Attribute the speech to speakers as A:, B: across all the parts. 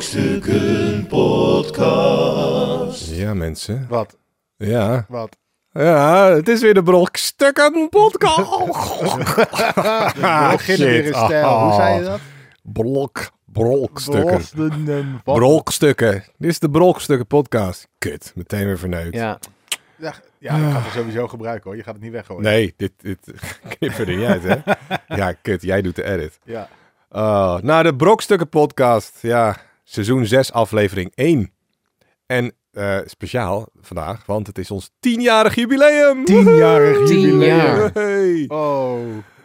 A: Brokstukken Podcast.
B: Ja, mensen.
C: Wat?
B: Ja.
C: Wat?
B: Ja, het is weer de Brokstukken podcast. Ah,
C: We beginnen weer in stijl. Hoe zei je dat?
B: Brok, brokstukken.
C: Brosten, wat?
B: Brokstukken. Dit is de Brokstukken podcast. Kut, meteen weer verneukt.
D: Ja,
C: Ja, ja, ik ga het sowieso gebruiken hoor. Je gaat het niet weggooien.
B: Ah. Nee, dit, dit knip er niet uit, hè? Ja, kut, jij doet de edit.
C: Ja.
B: Oh, nou, de Brokstukken podcast. Ja, seizoen 6, aflevering 1. En eh, speciaal vandaag, want het is ons tienjarig jubileum.
C: Tienjarig
D: Tien
C: jubileum.
D: jaar.
B: Hey.
C: Oh.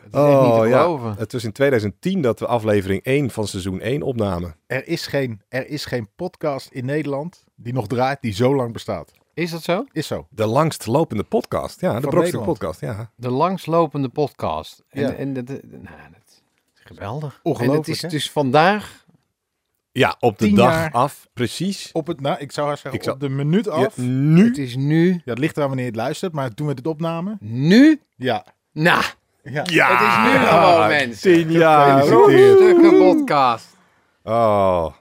D: het is echt niet te geloven.
B: Het was in 2010 dat we aflevering 1 van seizoen 1 opnamen.
C: Er is, geen, er is geen podcast in Nederland die nog draait die zo lang bestaat.
D: Is dat zo?
C: Is zo.
B: De langst lopende podcast. Ja, de
C: Van
B: Brokstuk
C: Nederland.
B: podcast. Ja.
D: De langslopende podcast. En,
C: Ja.
D: en dat, nou, dat is geweldig.
C: Ongelooflijk,
D: En het is
C: hè?
D: dus vandaag.
B: ja, op de
C: Tien
B: dag
C: jaar.
B: af, precies.
C: Op het, nou, ik zou haar zeggen,
B: Ik zou-
C: op de minuut af.
B: Ja,
C: Ja,
B: nu.
D: Het is nu.
C: het ligt eraan wanneer je het luistert, maar toen we dit opnamen.
D: Nu?
C: Ja.
D: Nou,
C: Ja.
B: Ja,
D: Het is nu gewoon, mensen.
B: 10 jaar.
C: Gefeliciteerd.
D: stukken podcast.
B: Oh.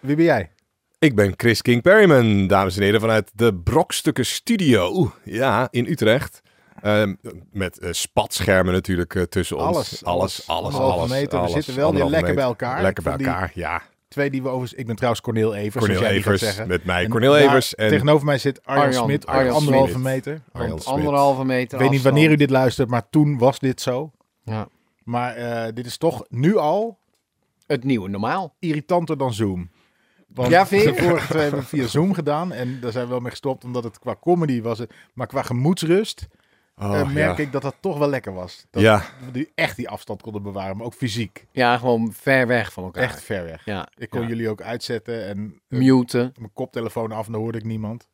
C: Wie ben jij?
B: Ik ben Chris King Perryman, dames en heren, vanuit de Brokstukken Studio. Ja, in Utrecht. Ehm, met eh, spatschermen natuurlijk eh, tussen ons. alles,
C: Alles, alles.
B: alles.
C: Anderhalve
B: alles,
C: meter. We
B: alles,
C: zitten wel weer
B: anderhalve
C: lekker bij
B: meter.
C: elkaar.
B: Lekker
C: Ik
B: bij
C: vond die-
B: elkaar, ja.
C: Twee die we overigens... Ik ben trouwens Cornel Evers. zoals
B: Cornel
C: jij die gaat
B: Evers
C: zeggen.
B: met mij.
C: En
B: Cornel
C: daar
B: Evers en
C: Tegenover mij zit Arjan,
D: Arjan-
C: Smit.
B: Arjan Smit.
C: anderhalve meter.
B: Arjan Smit.
D: Anderhalve meter.
C: Ik weet niet
D: afstand.
C: wanneer u dit luistert, maar toen was dit zo.
D: Ja.
C: Maar eh, dit is toch nu al
D: Het nieuwe normaal.
C: irritanter dan Zoom. Want
D: Ja, vind je?
C: de vorige twee hebben we via Zoom gedaan en daar zijn we wel mee gestopt, omdat het qua comedy was. Het, maar qua gemoedsrust eh,
B: Oh,
C: merk
B: ja.
C: ik dat dat toch wel lekker was. Dat
B: Ja.
C: we die, echt die afstand konden bewaren, maar ook fysiek.
D: Ja, gewoon ver weg van elkaar.
C: Echt ver weg.
D: Ja.
C: Ik kon
D: ja.
C: jullie ook uitzetten en eh,
D: muten.
C: mijn koptelefoon af en dan hoorde ik niemand.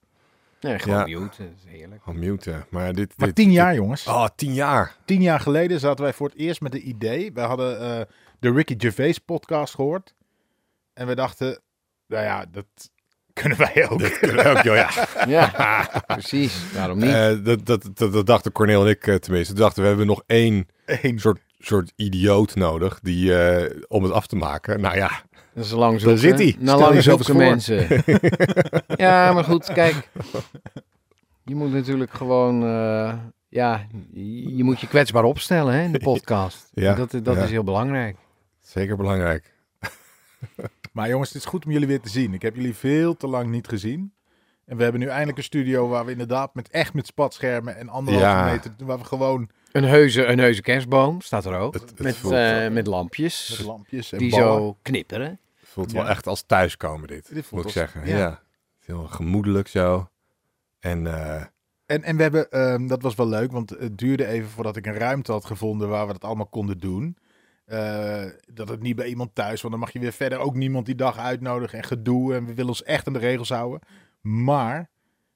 D: Nee, gewoon
B: Ja.
D: muten. Dat is heerlijk.
B: Oh, mute, hè. maar dit...
C: Maar
B: dit-
C: tien jaar,
B: dit-
C: jongens.
B: Oh, tien jaar.
C: Tien jaar geleden zaten wij voor het eerst met een idee. We hadden eh, de Ricky Gervais podcast gehoord. En we dachten, nou ja, dat kunnen wij ook.
B: Dat kunnen we ook, joh, ja.
D: Ja, precies. Daarom niet.
B: Eh, dat, dat, dat, dat dachten Cornel en ik eh, tenminste. We dachten, we hebben nog één
C: Eén.
B: soort, soort idioot nodig die, eh, om het af te maken. Nou ja,
D: Dat is lang zoeken.
B: zit hij.
D: Nou,
C: Stel
D: lang
C: jezelf
D: zoeken
C: eens
D: mensen. ja, maar goed, kijk. Je moet natuurlijk gewoon... eh, ja, je moet je kwetsbaar opstellen hè, in de podcast.
B: Ja,
D: dat dat
B: ja.
D: is heel belangrijk.
B: zeker belangrijk.
C: Maar jongens, het is goed om jullie weer te zien. Ik heb jullie veel te lang niet gezien. En we hebben nu eindelijk een studio waar we inderdaad met echt met spatschermen en anderhalve
B: Ja.
C: meter, waar we gewoon
D: Een heuze, een heuze kerstboom staat er ook.
B: Het- het
D: met,
B: voelt-
D: eh, met
C: met
D: lampjes
C: lampjes en
D: die
C: ballen.
D: zo knipperen.
B: Het voelt
C: Ja.
B: wel echt als thuiskomen dit,
C: Dit voelt
B: moet ik
C: als-
B: zeggen. Ja.
C: ja.
B: Heel gemoedelijk zo. En eh,
C: En, en we hebben, ehm, dat was wel leuk, want het duurde even voordat ik een ruimte had gevonden waar we dat allemaal konden doen. Eh, dat het niet bij iemand thuis, want dan mag je weer verder ook niemand die dag uitnodigen en gedoe. En we willen ons echt aan de regels houden. Maar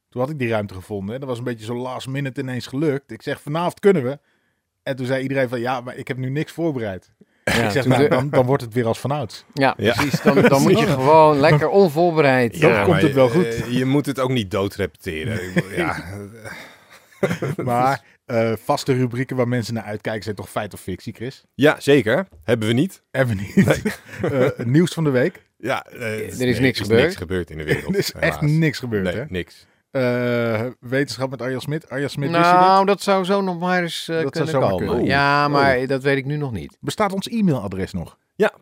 C: toen had ik die ruimte gevonden. En dat was een beetje zo last minute ineens gelukt. Ik zeg, vanavond kunnen we. En toen zei iedereen van, ja, maar ik heb nu niks voorbereid.
D: Ja,
C: ik zeg,
D: toen
C: nou,
D: de-
C: dan, dan wordt het weer als vanouds.
D: ja,
B: Ja.
D: precies. Dan, dan moet je gewoon lekker onvoorbereid.
C: Dan komt
B: maar
C: het wel
B: je-
C: goed.
B: eh, je moet het ook niet doodrepeteren. Ik bedoel, ja,
C: Maar eh, vaste rubrieken waar mensen naar uitkijken zijn toch feit of fictie, Chris?
B: ja, zeker. Hebben we niet.
C: Even niet. Eh, nieuws van de week.
B: Ja, eh,
D: is
B: nee,
D: niks
B: Er
D: gebeurd.
B: is niks gebeurd in de wereld.
C: Er is echt
B: helaas.
C: niks gebeurd,
B: Nee,
C: hè?
B: niks.
C: Eh, wetenschap met Arjan Smit. Arjan Smit, wist je dit?
D: Nou, dat zou zo nog maar eens eh,
C: Dat zou
D: kunnen
C: zomaar
D: komen.
C: kunnen.
B: Oeh.
D: Ja, maar dat weet ik nu nog niet.
C: Bestaat ons e-mailadres nog?
B: Ja,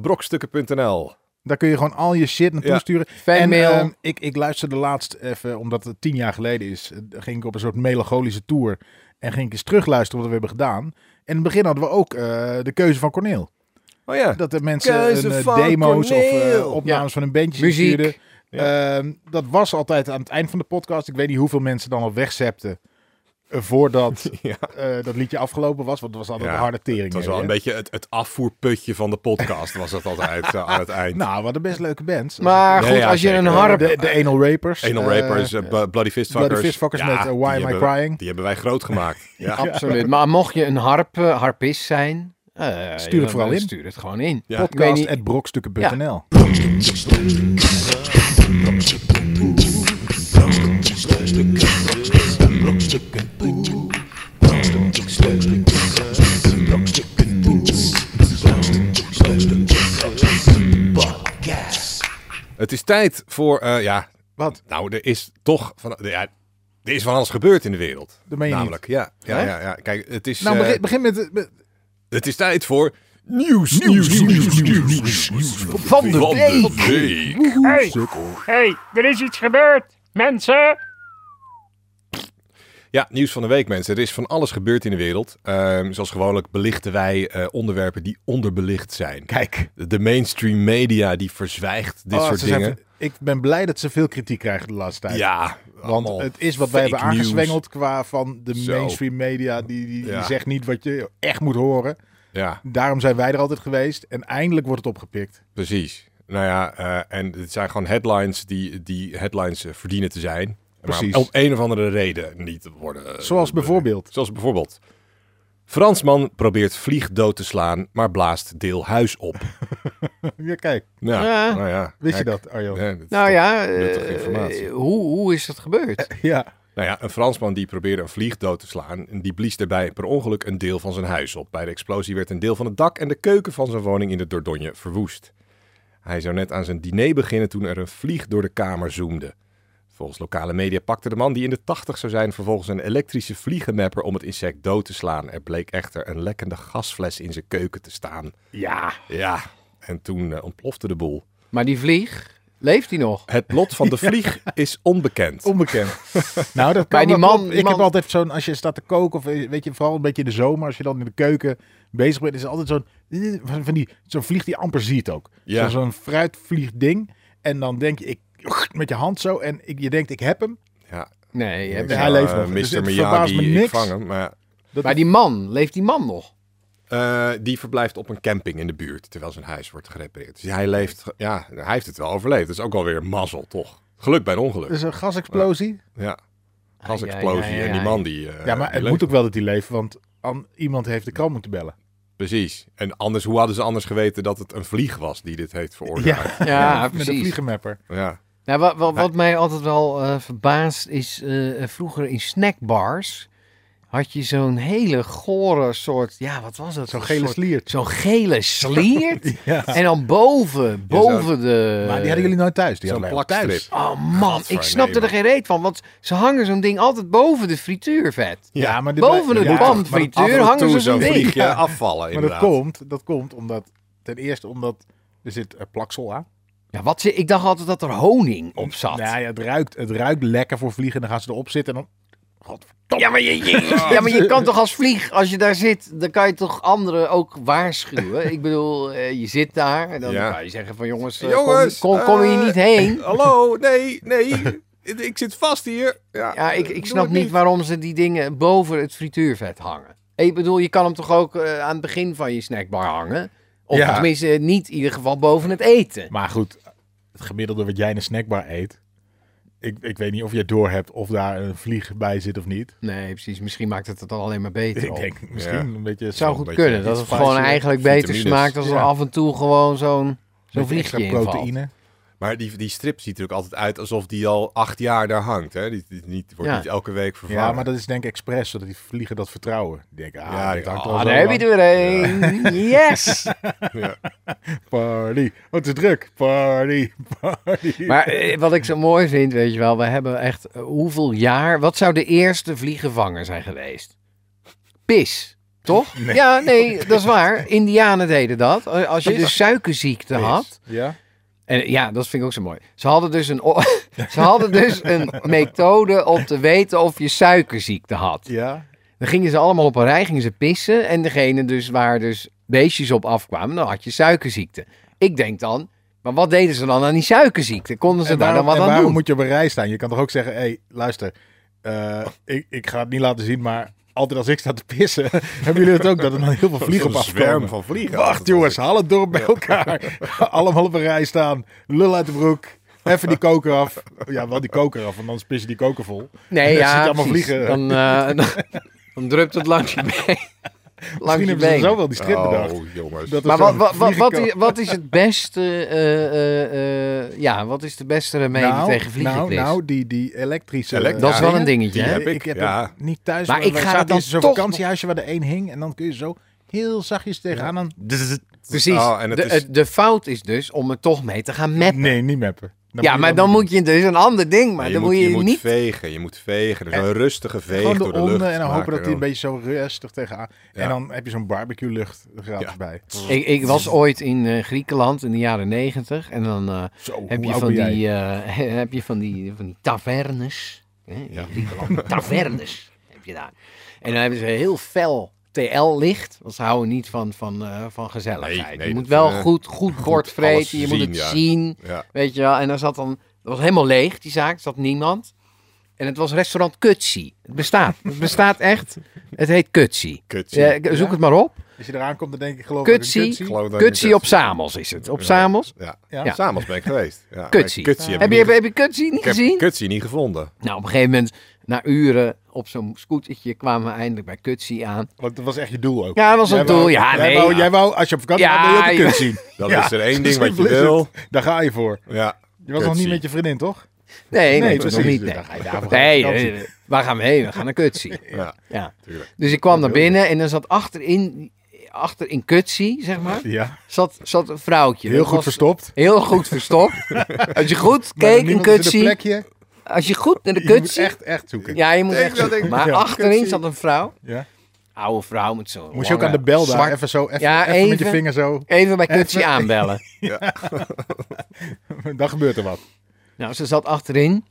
B: podcast.brokstukken.nl.
C: Daar kun je gewoon al je shit naartoe
B: Ja.
C: sturen. En
D: Fanmail.
C: ehm, ik, ik luisterde laatst even, omdat het tien jaar geleden is, eh, ging ik op een soort melancholische tour. En ging ik eens terugluisteren wat we hebben gedaan. En in het begin hadden we ook eh, de keuze van Corneel.
B: Oh ja.
C: Dat de mensen
B: Keuze
C: hun, eh,
B: van
C: demo's of
B: Corneel.
C: eh, opnames van hun bandjes
D: Muziek.
C: stuurden. Ehm, dat was altijd aan het eind van de podcast. Ik weet niet hoeveel mensen dan al wegzepten. eh, voordat
B: Ja.
C: eh, dat liedje afgelopen was. Want het was altijd
B: Ja,
C: een harde tering.
B: Het was
C: hè,
B: wel
C: hè?
B: een beetje het, het afvoerputje van de podcast, was het altijd eh, aan het eind.
C: Nou, wat een best leuke band. Eh,
D: Maar
B: Ja,
D: goed,
B: ja,
D: als je
B: zeker.
D: een harp...
C: de, de Anal Rapers.
B: Anal
C: eh,
B: Rapers, eh, Bla- Bloody Fistfuckers.
C: Bloody Fistfuckers met, eh, Why
B: die
C: Am I
B: hebben we-
C: Crying?
B: Die hebben wij groot gemaakt. ja.
D: Absoluut. Maar mocht je een harp, eh, harpist zijn... eh,
C: Stuur het
D: ja,
C: vooral
D: dan
C: in.
D: Stuur het gewoon in.
B: Ja.
D: Ik weet
C: Podcast
D: niet- Nou,
C: at brokstukken.nl.
A: Brokstukken Podcast.
B: Het is tijd voor, eh, ja...
C: Wat?
B: Nou, er is toch van... Ja, er is van alles gebeurd in de wereld.
C: Dat meen je
B: Namelijk, ja, ja,
C: Hè?
B: ja, ja. Kijk, het is,
C: niet. Nou,
B: eh,
C: begin, begin met... eh, met-
B: het is tijd voor... Nieuws, nieuws, nieuws, nieuws, nieuws,
D: Van de week.
B: week.
E: Hey, hey, er is iets gebeurd. Mensen,
B: Ja, nieuws van de week, mensen. Er is van alles gebeurd in de wereld. Ehm, zoals gewoonlijk belichten wij eh, onderwerpen die onderbelicht zijn.
C: Kijk.
B: De mainstream media die verzwijgt dit
C: Oh,
B: soort
C: ze zijn-
B: dingen.
C: ik ben blij dat ze veel kritiek krijgen de laatste tijd.
B: Ja,
C: Want
B: allemaal
C: het is wat wij hebben
B: fake news.
C: aangezwengeld qua van de
B: Zo.
C: mainstream media. Die, die, die
B: Ja.
C: zegt niet wat je echt moet horen.
B: Ja,
C: Daarom zijn wij er altijd geweest. En eindelijk wordt het opgepikt.
B: precies. Nou ja, eh, en het zijn gewoon headlines die, die headlines eh, verdienen te zijn.
C: Precies.
B: Maar op een of andere reden niet worden. eh,
C: Zoals bijvoorbeeld.
B: Zoals bijvoorbeeld. Fransman probeert vlieg dood te slaan, maar blaast deel huis op.
C: Ja, kijk.
B: Nou,
D: Ja.
B: nou ja.
C: Wist je
B: kijk.
C: dat, Arjan?
B: Ja, dat is
D: Nou
B: toch-
D: ja,
B: nuttige
D: eh,
B: informatie.
D: hoe, hoe is dat gebeurd?
C: Ja.
B: Nou ja, een Fransman die probeerde een vlieg dood te slaan. En die blies daarbij per ongeluk een deel van zijn huis op. Bij de explosie werd een deel van het dak en de keuken van zijn woning in de Dordogne verwoest. Hij zou net aan zijn diner beginnen toen er een vlieg door de kamer zoemde. Volgens lokale media pakte de man die in de 80 zou zijn vervolgens een elektrische vliegenmepper om het insect dood te slaan. Er bleek echter een lekkende gasfles in zijn keuken te staan.
C: Ja.
B: Ja, en toen eh, ontplofte de boel.
D: Maar die vlieg, leeft die nog?
B: Het lot van de vlieg is onbekend.
C: Onbekend. nou, dat kan
D: Maar die
C: wel
D: man-
C: kloppen.
D: die
C: Ik heb
D: man-
C: altijd zo'n, als je staat te koken, of eh, weet je, vooral een beetje in de zomer, als je dan in de keuken bezig bent, is er altijd zo'n, eh, van- van die, zo'n vlieg die je amper ziet ook.
B: Ja.
C: Zo- Zo'n fruitvliegding. En dan denk je, ik, met je hand zo, en ik, je denkt, ik heb hem.
B: Ja,
D: Nee, je hebt-
C: Ja, hij leeft nog.
B: Mr.
C: Dus het verbaast
B: eh, Miyagi,
C: me
B: ik
C: niks.
B: vang hem. Maar
C: Dat
D: maar die man, leeft die man nog?
B: Eh, die verblijft op een camping in de buurt, terwijl zijn huis wordt gerepareerd. Dus hij leeft, ja, hij heeft het wel overleefd. Dat is ook wel weer mazzel, toch? Geluk bij een ongeluk.
C: is een gasexplosie.
B: Ja, gasexplosie
D: Ai, ai, ai,
B: en die
D: ai.
B: man die... eh,
C: ja,
B: die
C: maar het
B: leeft.
C: moet ook wel dat hij leeft, want an- iemand heeft de krant moeten bellen.
B: Precies. En anders, hoe hadden ze anders geweten dat het een vlieg was die dit heeft veroorzaakt?
D: Ja,
C: Met een
D: precies.
C: vliegenmapper.
B: Ja.
D: Nou, wat, wat, wat mij altijd wel eh, verbaast is, eh, vroeger in snackbars had je zo'n hele gore soort, ja, wat was dat?
C: Zo'n
D: Een
C: gele
D: soort-
C: sliert.
D: Zo'n gele sliert.
C: Ja.
D: En dan boven, boven de...
C: Maar die hadden jullie nooit thuis. Die
B: Zo'n
C: hadden wij altijd
B: plakstrip.
C: thuis.
D: Oh man,
B: Gadver,
D: ik snapte
B: nee,
D: er geen reet van, want ze hangen zo'n ding altijd boven de frituurvet.
C: Ja, maar dit-
D: boven het
C: ja,
D: pan
C: maar
B: Af en
D: frituur hangen
B: toe
D: ze zo'n
B: zo'n
D: ding.
B: vliegje afvallen,
C: Maar dat
B: inderdaad.
C: komt, dat komt omdat, ten eerste omdat, er zit eh, plaksel aan.
D: Ja, wat, ze- ik dacht altijd dat er honing op zat.
C: Nou ja, het ruikt, het ruikt lekker voor vliegen. Dan gaan ze erop zitten en dan...
D: Ja, maar je, je- ja, maar je kan toch als vlieg, als je daar zit, dan kan je toch anderen ook waarschuwen. Ik bedoel, eh, je zit daar en dan
B: Ja.
D: kan je zeggen van jongens, eh,
B: Jongens,
D: kom, kom, kom hier
B: eh,
D: niet heen.
B: Hallo, nee, nee. Ik zit vast hier. Ja,
D: Ja, ik,
B: doe
D: ik snap
B: het
D: niet waarom ze die dingen boven het frituurvet hangen. Ik bedoel, je kan hem toch ook eh, aan het begin van je snackbar hangen? Of
C: Ja.
D: tenminste, eh, niet in ieder geval boven het eten.
C: Maar goed, het gemiddelde wat jij in een snackbar eet... Ik, ik weet niet of jij doorhebt of daar een vlieg bij zit of niet.
D: Nee, precies. Misschien maakt het het al alleen maar beter.
C: Ik
D: op.
C: denk misschien
B: Ja.
C: een beetje...
D: het zou
B: een
D: goed
B: beetje
D: kunnen dat het
C: iets
D: gewoon
C: spicy,
D: eigenlijk beter
B: vitamines.
D: smaakt als er
C: Ja.
D: af en toe gewoon zo'n zo'n
C: beetje
D: vliegje
C: extra
D: invalt.
C: proteïne.
B: Maar die, die strip ziet er ook altijd uit alsof die al acht jaar daar hangt. Hè? Die, die niet, wordt
D: Ja.
B: niet elke week vervangen.
C: Ja, maar dat is denk ik expres, zodat die vliegen dat vertrouwen. Die denken, ah,
B: Ja,
C: dit hangt
B: ja.
C: al
D: Ah,
C: zo
D: daar heb je
C: lang.
D: er weer een. Yes!
C: Party. Wat is druk. Party. Party.
D: Maar eh, wat ik zo mooi vind, weet je wel, we hebben echt eh, hoeveel jaar... Wat zou de eerste vliegenvanger zijn geweest? Pis. Toch? Ja, nee, dat is waar. Indianen deden dat. Eh, Als je dus suikerziekte had,
C: Ja?
D: En ja, dat vind ik ook zo mooi. Ze hadden dus een, o- ze hadden dus een methode om te weten of je suikerziekte had.
C: Ja.
D: Dan gingen ze allemaal op een rij, gingen ze pissen. En degene dus waar dus beestjes op afkwamen, dan had je suikerziekte. Ik denk dan, maar wat deden ze dan aan die suikerziekte? Konden ze
C: En
D: daar
C: waarom,
D: dan wat
C: en
D: aan
C: waarom
D: doen?
C: moet je op een rij staan? Je kan toch ook zeggen, hé, hey, luister, eh, ik, ik ga het niet laten zien, maar altijd als ik sta te pissen, hebben jullie het ook dat er dan heel veel vliegen op
B: Zo'n
C: afkomen?
B: zwerm van vliegen.
C: Wacht jongens, haal het dorp bij elkaar. Allemaal op een rij staan, lul uit de broek. Even die koker af. Ja, wel die koker af, want anders pis je die koker vol. Dan
D: Nee,
C: zit je
D: ja,
C: allemaal
D: precies.
C: vliegen.
D: Dan, eh, dan, dan drupt het langs je been. Langs
C: Misschien
D: je
C: hebben ze
D: been.
C: zo wel die strip bedacht.
B: Oh, jongens.
C: Dat er
D: Maar wat,
C: zo'n
D: wat, wat, wat,
C: vliegenkoker-
D: is, wat is het beste, eh, eh, eh, ja, wat is de beste remedie tegen
C: nou,
D: vliegenvlies?
C: nou, die, die elektrische...
B: Elekt-
C: eh,
D: Dat is wel een
C: dingen.
D: dingetje,
B: Die
D: hè?
B: heb ik,
C: ik heb
B: ja.
C: hem niet thuis.
D: Maar ik
C: wij
D: ga
C: zaten
D: er dan
C: in zo'n
D: toch
C: vakantiehuisje waar de één hing en dan kun je zo heel zachtjes tegenaan. Dan...
D: Precies.
B: Oh, en het
D: de,
B: is-
D: het- de fout is dus om er toch mee te gaan mappen.
C: Nee, niet mappen. Dan
D: ja,
C: je
D: maar
C: dat
D: dan
C: niet
D: moet je dus een ander ding, maar
B: Nee,
D: dan
B: je moet,
D: moet je,
B: je moet
D: niet.
B: vegen, je moet vegen. Dus een rustige
C: doen.
B: veeg
C: Gewoon
B: door
C: de
B: de lucht.
C: onder en dan hopen
B: maken
C: dat hij een
B: dan.
C: beetje zo rustig tegenaan.
B: Ja.
C: En dan heb je zo'n barbecue lucht er gratis
B: Ja.
C: bij.
D: Ik, ik was ooit in eh, Griekenland in de jaren negentig en dan eh,
C: Zo,
D: heb,
C: hoe
D: je
C: oud
D: van
C: ben jij?
D: die, eh, heb je van die, van die tavernes. Hè, in
B: Ja.
D: Griekenland, tavernes heb je daar. En dan hebben ze heel fel TL-licht, want ze houden niet van, van, eh, van gezelligheid.
B: Nee, nee,
D: je moet
B: dat,
D: wel
B: eh,
D: goed, goed bord
B: alles
D: vreten, je moet
B: zien,
D: het
B: ja.
D: zien.
B: Ja.
D: Weet je wel, en daar zat dan, dat was helemaal leeg, die zaak, er zat niemand. En het was restaurant Kutsi. Het bestaat, het bestaat echt. Het heet Kutsi.
B: Kutsie.
D: Ja, zoek het maar op.
C: Als je eraan komt, dan denk ik geloof ik
D: Kutsie.
B: Ik geloof dat
D: Kutsi
B: ik-
D: op Samos is het. Op
B: Ja.
D: Samos.
B: Ja,
C: Ja.
B: ja. Samos ben ik geweest. Ja.
D: Kutsie.
B: Nee, Kutsie
D: Heb
B: ik
D: je,
B: niet-
D: heb je Kutsi niet
B: ik heb
D: gezien?
B: Kutsie niet gevonden.
D: Nou, op een gegeven moment, na uren op zo'n scootertje, kwamen we eindelijk bij Kutsi aan.
C: Want dat was echt je doel ook.
D: Ja, dat was
C: Jij
D: een
C: wou-
D: doel. Ja,
C: jij
D: nee.
C: Wou, jij wou, als je op vakantie
D: Ja,
C: gaat, wil je ook
D: ja.
C: een kut zien.
B: Dan
C: Ja,
B: is er één ding
C: zo
B: wat je
C: simpel is
B: wil.
C: het. Daar ga je voor.
B: Ja.
C: Je was nog niet
B: Kutsie.
C: met je vriendin, toch?
D: Nee, nee,
C: Nee,
D: dat is nog
C: precies.
D: niet.
C: Dus
D: Nee,
C: dan ga je daarvoor
D: nee,
C: gaan op
D: nee, waar gaan we heen? We gaan naar Kutsi.
B: Ja,
D: Ja.
B: tuurlijk.
D: Dus ik kwam naar binnen en dan zat achterin, achter in Kutsi, zeg maar,
C: Ja,
D: zat, zat een vrouwtje.
C: heel
D: Dat
C: goed
D: was
C: verstopt.
D: Heel goed verstopt. Als je goed
C: Maar
D: keek in
C: niemand is een
D: Kutsi,
C: plekje. Je
D: als je goed naar de
C: moet
D: Kutsi...
C: echt, echt zoeken.
D: Ja, je moet echt
B: dat
D: zoeken.
B: ik-
D: Maar
C: ja.
D: achterin
B: Kutsi.
D: zat een vrouw.
C: Ja.
D: Oude vrouw met zo'n
C: Moest je ook aan
D: lange
C: de bel daar
D: zwart-
C: even zo, even,
D: Ja,
C: even met je
D: even.
C: vinger zo.
D: Even bij Kutsi aanbellen.
C: Dan gebeurt er wat.
D: Nou, ze zat achterin.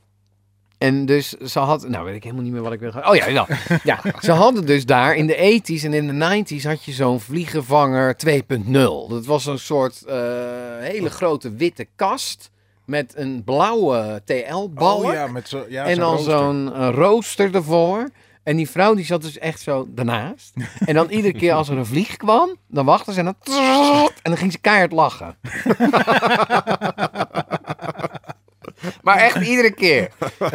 D: En dus ze had... Nou, weet ik helemaal niet meer wat ik wil gaan... Oh ja, ja. ja. Ze hadden dus daar in de 80s en in de 90s had je zo'n vliegenvanger 2.0. Dat was een soort eh, hele grote witte kast met een blauwe TL-balk.
C: Oh ja, met zo, ja,
D: en
C: zo'n
D: dan
C: rooster.
D: zo'n eh, rooster ervoor. En die vrouw die zat dus echt zo daarnaast. En dan iedere keer als er een vlieg kwam, dan wachtte ze en dan... En dan ging ze keihard lachen. maar echt iedere keer.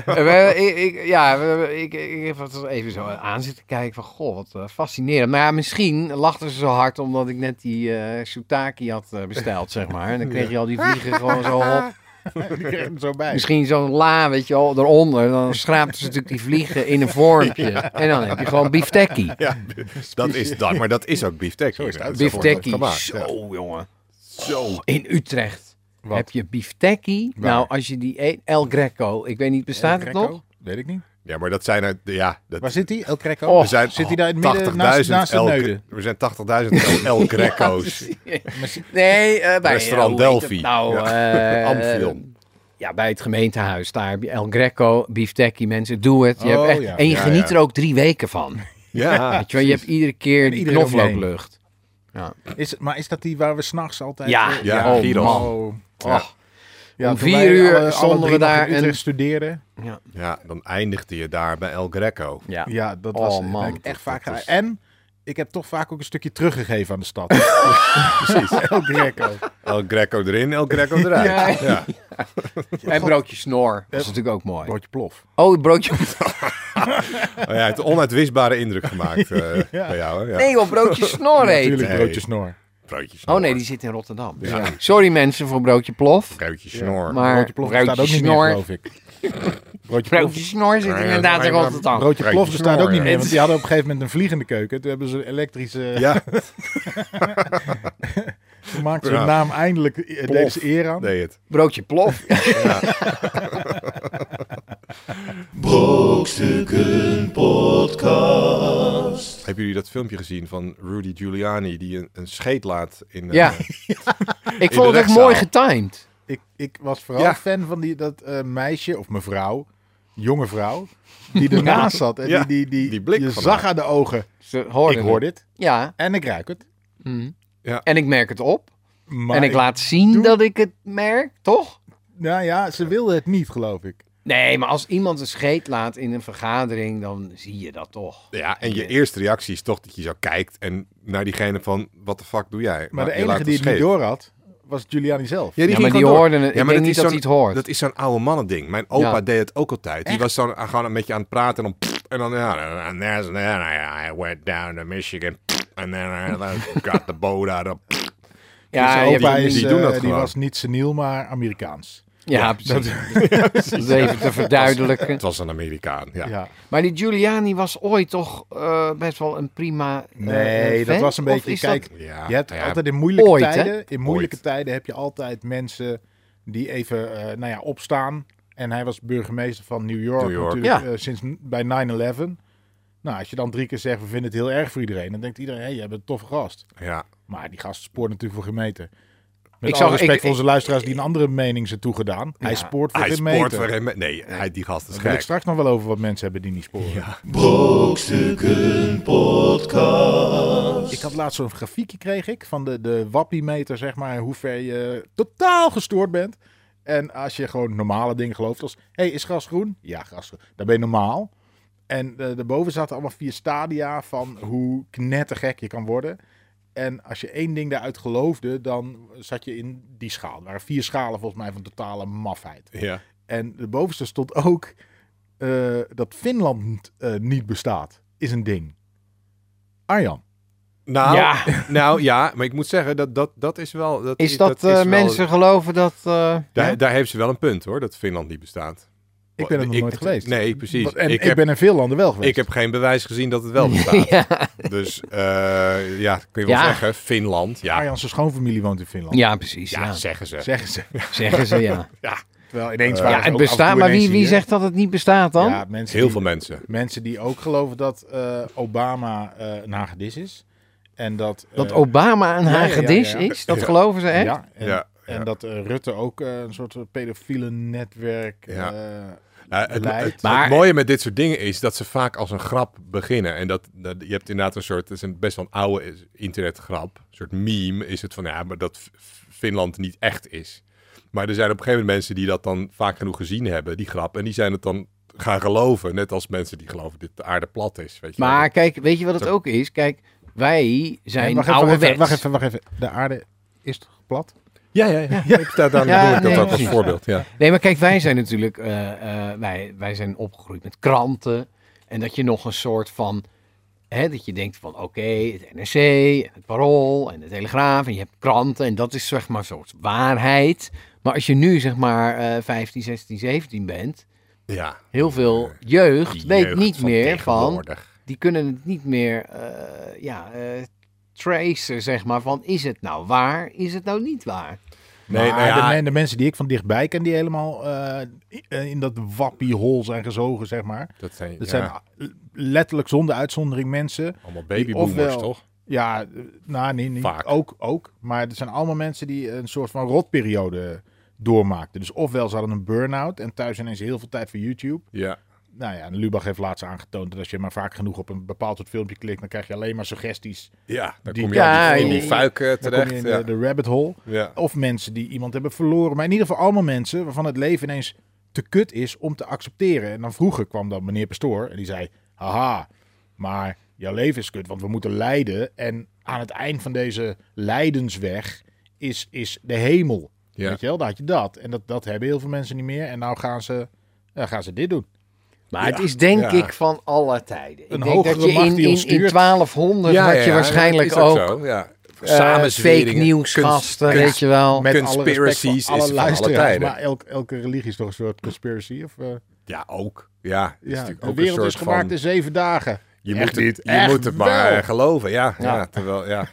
D: En we- ik, ik, ja, we- ik, ik heb het even zo aan zitten kijken van... Goh, wat eh, fascinerend. Maar ja, misschien lachten ze zo hard omdat ik net die eh soutaki had eh, besteld, zeg maar. En dan kreeg je al die vliegen gewoon zo op.
C: Die kreeg hem zo bij.
D: Misschien zo'n la, weet je wel, eronder. Dan schraapt ze natuurlijk die vliegen in een vormpje. En dan heb je gewoon biftekkie.
B: Ja, dat is dat. Maar dat is ook beeftek. Zo
C: is het uit.
D: Biftekkie.
B: gemaakt,
D: Zo,
B: ja.
D: jongen.
B: Zo.
D: In Utrecht
C: Wat?
D: heb je biftekkie.
C: Waar?
D: Nou, als je die eet... El Greco. Ik weet niet, bestaat
C: El
D: het
C: Greco?
D: nog?
C: Weet ik niet.
B: Ja, maar dat zijn er... Ja, dat,
C: Waar zit hij? El Greco?
D: Oh.
B: er zijn
C: Zit hij daar in het midden naast,
B: 80.000
C: naast de
B: El-
C: neuden?
B: Er zijn 80.000 El, El Greco's.
D: Nee, eh, bij...
B: Restaurant
D: eh, hoe heet
B: Delphi.
D: het Nou, eh,
B: Amphion.
D: Ja, bij het gemeentehuis daar heb je El Greco, biftekkie, mensen, doe het. Je hebt
C: Oh,
D: echt,
C: ja.
D: En je
B: Ja,
D: geniet
B: ja.
D: er ook drie weken van.
B: Ja.
D: Weet je, wel, je hebt iedere keer die
C: iedereen om je heen.
D: knoflooklucht.
C: Is, maar is dat die waar we s'nachts altijd...
D: Ja,
C: eh,
B: Ja,
D: oh
B: Gyros.
D: man.
C: Oh.
B: Ja.
D: Och.
C: Ja,
D: Om
C: toen
D: vier
C: wij
D: uur
C: alle- alle
D: stonden
C: drie
D: we
C: nog
D: daar
C: in Utrecht
D: en-
C: studeren.
B: ja, dan eindigde je daar bij El Greco.
D: Ja.
C: Ja, dat
D: Oh,
C: was
D: man.
C: heb ik echt vaak
B: Dat is-
C: gedaan. En ik heb toch vaak ook een stukje teruggegeven aan de stad. Precies. El Greco.
B: El Greco erin, El Greco eruit.
D: Ja.
B: ja. Oh
D: En broodje snor. Dat is natuurlijk ook mooi.
C: Broodje plof.
D: Oh, het broodje.
B: Oh ja, het onuitwisbare indruk gemaakt eh, bij jou. Hè? Ja.
D: Nee, joh, broodje snor heet.
C: Natuurlijk
B: Nee.
C: broodje snor.
B: Broodje snor.
D: Oh nee, die zit in Rotterdam.
B: Ja.
D: Sorry mensen voor broodje plof.
B: Broodje snor.
D: Maar
C: Broodje plof bestaat ook niet meer,
D: snor.
C: geloof ik. Broodje plof.
D: Broodje snor zit inderdaad in Rotterdam.
C: Broodje plof bestaat ook niet meer,
B: Snor,
C: want die hadden op een gegeven moment een vliegende keuken. Toen hebben ze een elektrische...
B: Ja,
C: Toen maakten ze
B: Ja.
C: hun naam eindelijk... eh,
B: Plof.
C: deden ze eer aan.
B: deed het.
D: Broodje plof.
F: Brokstukken Podcast.
B: Hebben jullie dat filmpje gezien van Rudy Giuliani die een, een scheet laat in... eh,
D: Ja. Ik vond het echt
B: rechtszaal.
D: mooi getimed.
C: Ik, ik was vooral
B: Ja.
C: fan van die, dat eh, meisje, of mevrouw, jonge vrouw, die ernaast zat. En
B: Ja,
C: die, die, die,
B: die blik
C: je
B: van
C: zag
B: haar.
C: aan de ogen,
D: Ze hoorden
C: ik hoor
D: het.
C: dit
D: Ja.
C: en ik ruik het.
D: Mhm.
B: Ja.
D: En ik merk het op.
C: Maar
D: en ik laat zien
C: doe-
D: dat ik het merk, toch?
C: Nou ja, ze wilde het niet, geloof ik.
D: Nee, maar als iemand een scheet laat in een vergadering, dan zie je dat toch.
B: Ja, en je eerste reactie is toch dat je zo kijkt en naar diegene van, wat de fuck doe jij?
C: Maar de
B: Nou, je
C: enige
B: laat
C: die het
B: een
C: niet
B: scheet.
C: door had, was Giuliani zelf.
B: Ja,
D: Ja,
B: ging
D: maar die
B: gewoon door.
D: hoorden het.
B: Ja,
D: ik
B: maar
D: denk niet
B: is
D: dat hij
B: zo'n-
D: het hoort.
B: Dat is zo'n oude mannen ding. Mijn opa
D: Ja.
B: deed het ook altijd. Die was zo, gewoon een beetje aan het praten en dan... pff, En dan, ja, and there's- and then I, I went down to Michigan. pff, And then I got the boat out of...
D: ja,
C: Zijn
D: je hebt-
C: Dus opa
B: die-
C: is,
B: die doen dat
C: eh, die
B: gewoon.
C: was niet seniel, maar Amerikaans.
D: Ja,
C: Dat,
D: precies. Dat even te verduidelijken.
B: Het was een Amerikaan, ja.
C: ja.
D: Maar die Giuliani was ooit toch eh, best wel een prima. eh,
C: Nee, dat
D: vent?
C: was een
D: Of
C: beetje.
D: is dat-
C: Kijk,
B: Ja,
C: je hebt
B: nou ja,
C: altijd in moeilijke
D: ooit, hè?
C: tijden. In moeilijke tijden heb je altijd mensen die even eh, nou ja, opstaan. En hij was burgemeester van New York,
B: New York.
D: Ja.
C: natuurlijk eh, sinds n- bij 9-11. Nou, als je dan drie keer zegt, we vinden het heel erg voor iedereen. Dan denkt iedereen, hé, hey, je bent een toffe gast.
B: ja.
C: Maar die gast spoort natuurlijk voor gemeten. Met ik
D: Ik
C: alle
D: zag-
C: respect
D: ik-
C: voor onze luisteraars die een andere mening zijn toegedaan. hij spoort voor
B: Hij
C: gemeten.
B: spoort voor hem. Nee, hij, die gast is
C: Daar wil ik
B: gek.
C: straks nog wel over wat mensen hebben die niet sporen.
G: Brokstukken Podcast.
C: Ik had laatst zo'n grafiekje kreeg ik van de, de wappiemeter, zeg maar, hoe ver je totaal gestoord bent. En als je gewoon normale dingen gelooft, als, hey, is gras groen? Ja, gras groen. Dan ben je normaal. En eh daarboven zaten allemaal vier stadia van hoe knettergek je kan worden. En als je één ding daaruit geloofde, dan zat je in die schaal. Er waren vier schalen volgens mij van totale mafheid.
B: Ja.
C: En de bovenste stond ook eh, dat Finland eh, niet bestaat, is een ding. Arjan.
B: Nou,
D: Ja.
B: nou ja, maar ik moet zeggen, dat, dat, dat is wel... Dat
D: Is dat, eh,
B: is wel-
D: mensen geloven dat. eh,
B: Daar,
C: Ja?
B: daar heeft ze wel een punt hoor, dat Finland niet bestaat.
C: Ik ben er nog nooit geweest.
B: Nee, precies.
C: En ik,
B: ik, heb,
C: ben in veel landen wel geweest.
B: ik heb geen bewijs gezien dat het wel bestaat.
D: ja.
B: Dus eh, ja, kun je wel
D: Ja.
B: zeggen, Finland. Ja,
C: Arjan zijn schoonfamilie woont in Finland.
D: ja, precies. Ja,
B: ja zeggen ze.
C: Zeggen Ah, ze.
D: Zeggen ze ja.
C: Terwijl ineens
B: Eh,
C: waren ze ook
D: ja, het
C: af en
D: bestaat,
C: toe
D: maar wie,
C: ineens
D: wie
C: hier.
D: zegt dat het niet bestaat dan?
C: Ja, mensen
B: Heel
C: die,
B: veel mensen.
C: mensen die ook geloven dat eh, Obama eh een hagedis is. En dat... eh,
D: dat Obama een
C: ja, ja, ja,
D: hagedis
C: ja.
D: is? Dat
B: Ja.
D: geloven ze echt?
C: Ja, en,
B: Ja,
C: en
B: ja.
C: dat eh, Rutte ook eh, een soort pedofiele netwerk...
B: Ja.
C: eh,
B: Eh, het,
C: Beleid.
B: het- het
D: Maar-
B: mooie met dit soort dingen is dat ze vaak als een grap beginnen. En dat, dat- je hebt inderdaad een soort, het is een best wel een oude is- internetgrap. Een soort meme is het van, ja, maar dat F- Finland niet echt is. Maar er zijn op een gegeven moment mensen die dat dan vaak genoeg gezien hebben, die grap. En die zijn het dan gaan geloven. Net als mensen die geloven dat de aarde plat is. Weet je wel.
D: Maar kijk, weet je wat het ook is? Kijk, wij
C: wacht, even,
D: zijn
C: wacht,
D: ouderwets.
C: even, wacht even, wacht even. De aarde is toch plat?
B: Ja, ja, ja. Ik, daar, daarom
D: Ja,
B: bedoel ik dat
D: nee,
B: ook als
D: precies.
B: voorbeeld. Ja.
D: Nee, maar kijk, wij zijn natuurlijk, eh, eh, wij, wij zijn opgegroeid met kranten. En dat je nog een soort van, hè, dat je denkt van oké, het NRC, en het Parool en de Telegraaf en je hebt kranten. En dat is zeg maar een soort waarheid. Maar als je nu zeg maar eh 15, 16, 17 bent,
B: ja.
D: heel veel jeugd
B: Die
D: weet
B: jeugd
D: niet meer van,
B: tegenwoordig.
D: die kunnen het niet meer, eh, ja, eh tracen zeg maar van is het nou waar, is het nou niet waar?
B: Nee,
C: maar
B: nou ja,
C: de, men- de mensen die ik van dichtbij ken, die helemaal eh, in dat wappiehol zijn gezogen, zeg maar.
B: dat zijn,
C: Dat
B: ja,
C: zijn eh, letterlijk zonder uitzondering mensen.
B: allemaal babyboomers,
C: ofwel-
B: toch?
C: Ja, eh, nou, nee, niet.
B: Vaak.
C: Ook, ook. Maar er zijn allemaal mensen die een soort van rotperiode doormaakten. Dus ofwel ze hadden een burn-out en thuis ineens heel veel tijd voor YouTube.
B: Ja.
C: Nou ja, en Lubach heeft laatst aangetoond dat als je maar vaak genoeg op een bepaald soort filmpje klikt, dan krijg je alleen maar suggesties.
B: Ja, dan
C: Die-
B: kom je
D: Ja,
B: al die- in die
D: je-
B: fuik eh,
C: Dan kom
B: terecht.
C: je in
B: ja.
C: de, de rabbit hole.
B: Ja.
C: Eh, Of mensen die iemand hebben verloren. Maar in ieder geval allemaal mensen waarvan het leven ineens te kut is om te accepteren. En dan vroeger kwam dan meneer Pastoor en die zei... Haha, maar jouw leven is kut, want we moeten lijden. En aan het eind van deze lijdensweg is, is de hemel.
B: Ja.
C: Weet je wel, daar had je dat. En dat, dat hebben heel veel mensen niet meer. En nou gaan ze, ja, gaan ze dit doen.
D: Maar het is denk
B: ja.
D: ik van alle tijden.
C: Een
D: ik denk dat
C: hogere
D: je
C: macht
D: in,
C: die ons
D: in, in
C: stuurt.
D: 1200 had je waarschijnlijk
B: is ook,
D: ook,
B: zo, ja.
D: eh, fake news gasten,
B: kunst-
D: weet je wel.
C: Met alle respect voor
B: Conspiracies
C: alle
B: is van alle
C: luisteraars,
B: tijden.
C: Maar elk, elke religie is toch een soort conspiracy? Of, eh,
B: Ja, ook. Ja, is
C: ja,
B: natuurlijk
C: de
B: ook
C: wereld
B: een
C: is
B: soort
C: gemaakt
B: van,
C: in zeven dagen.
B: je
C: Echt
B: moet het,
C: niet.
B: je
C: Echt
B: moet het maar
C: wel.
B: eh, geloven, ja. ja.
D: Ja.
B: terwijl, ja.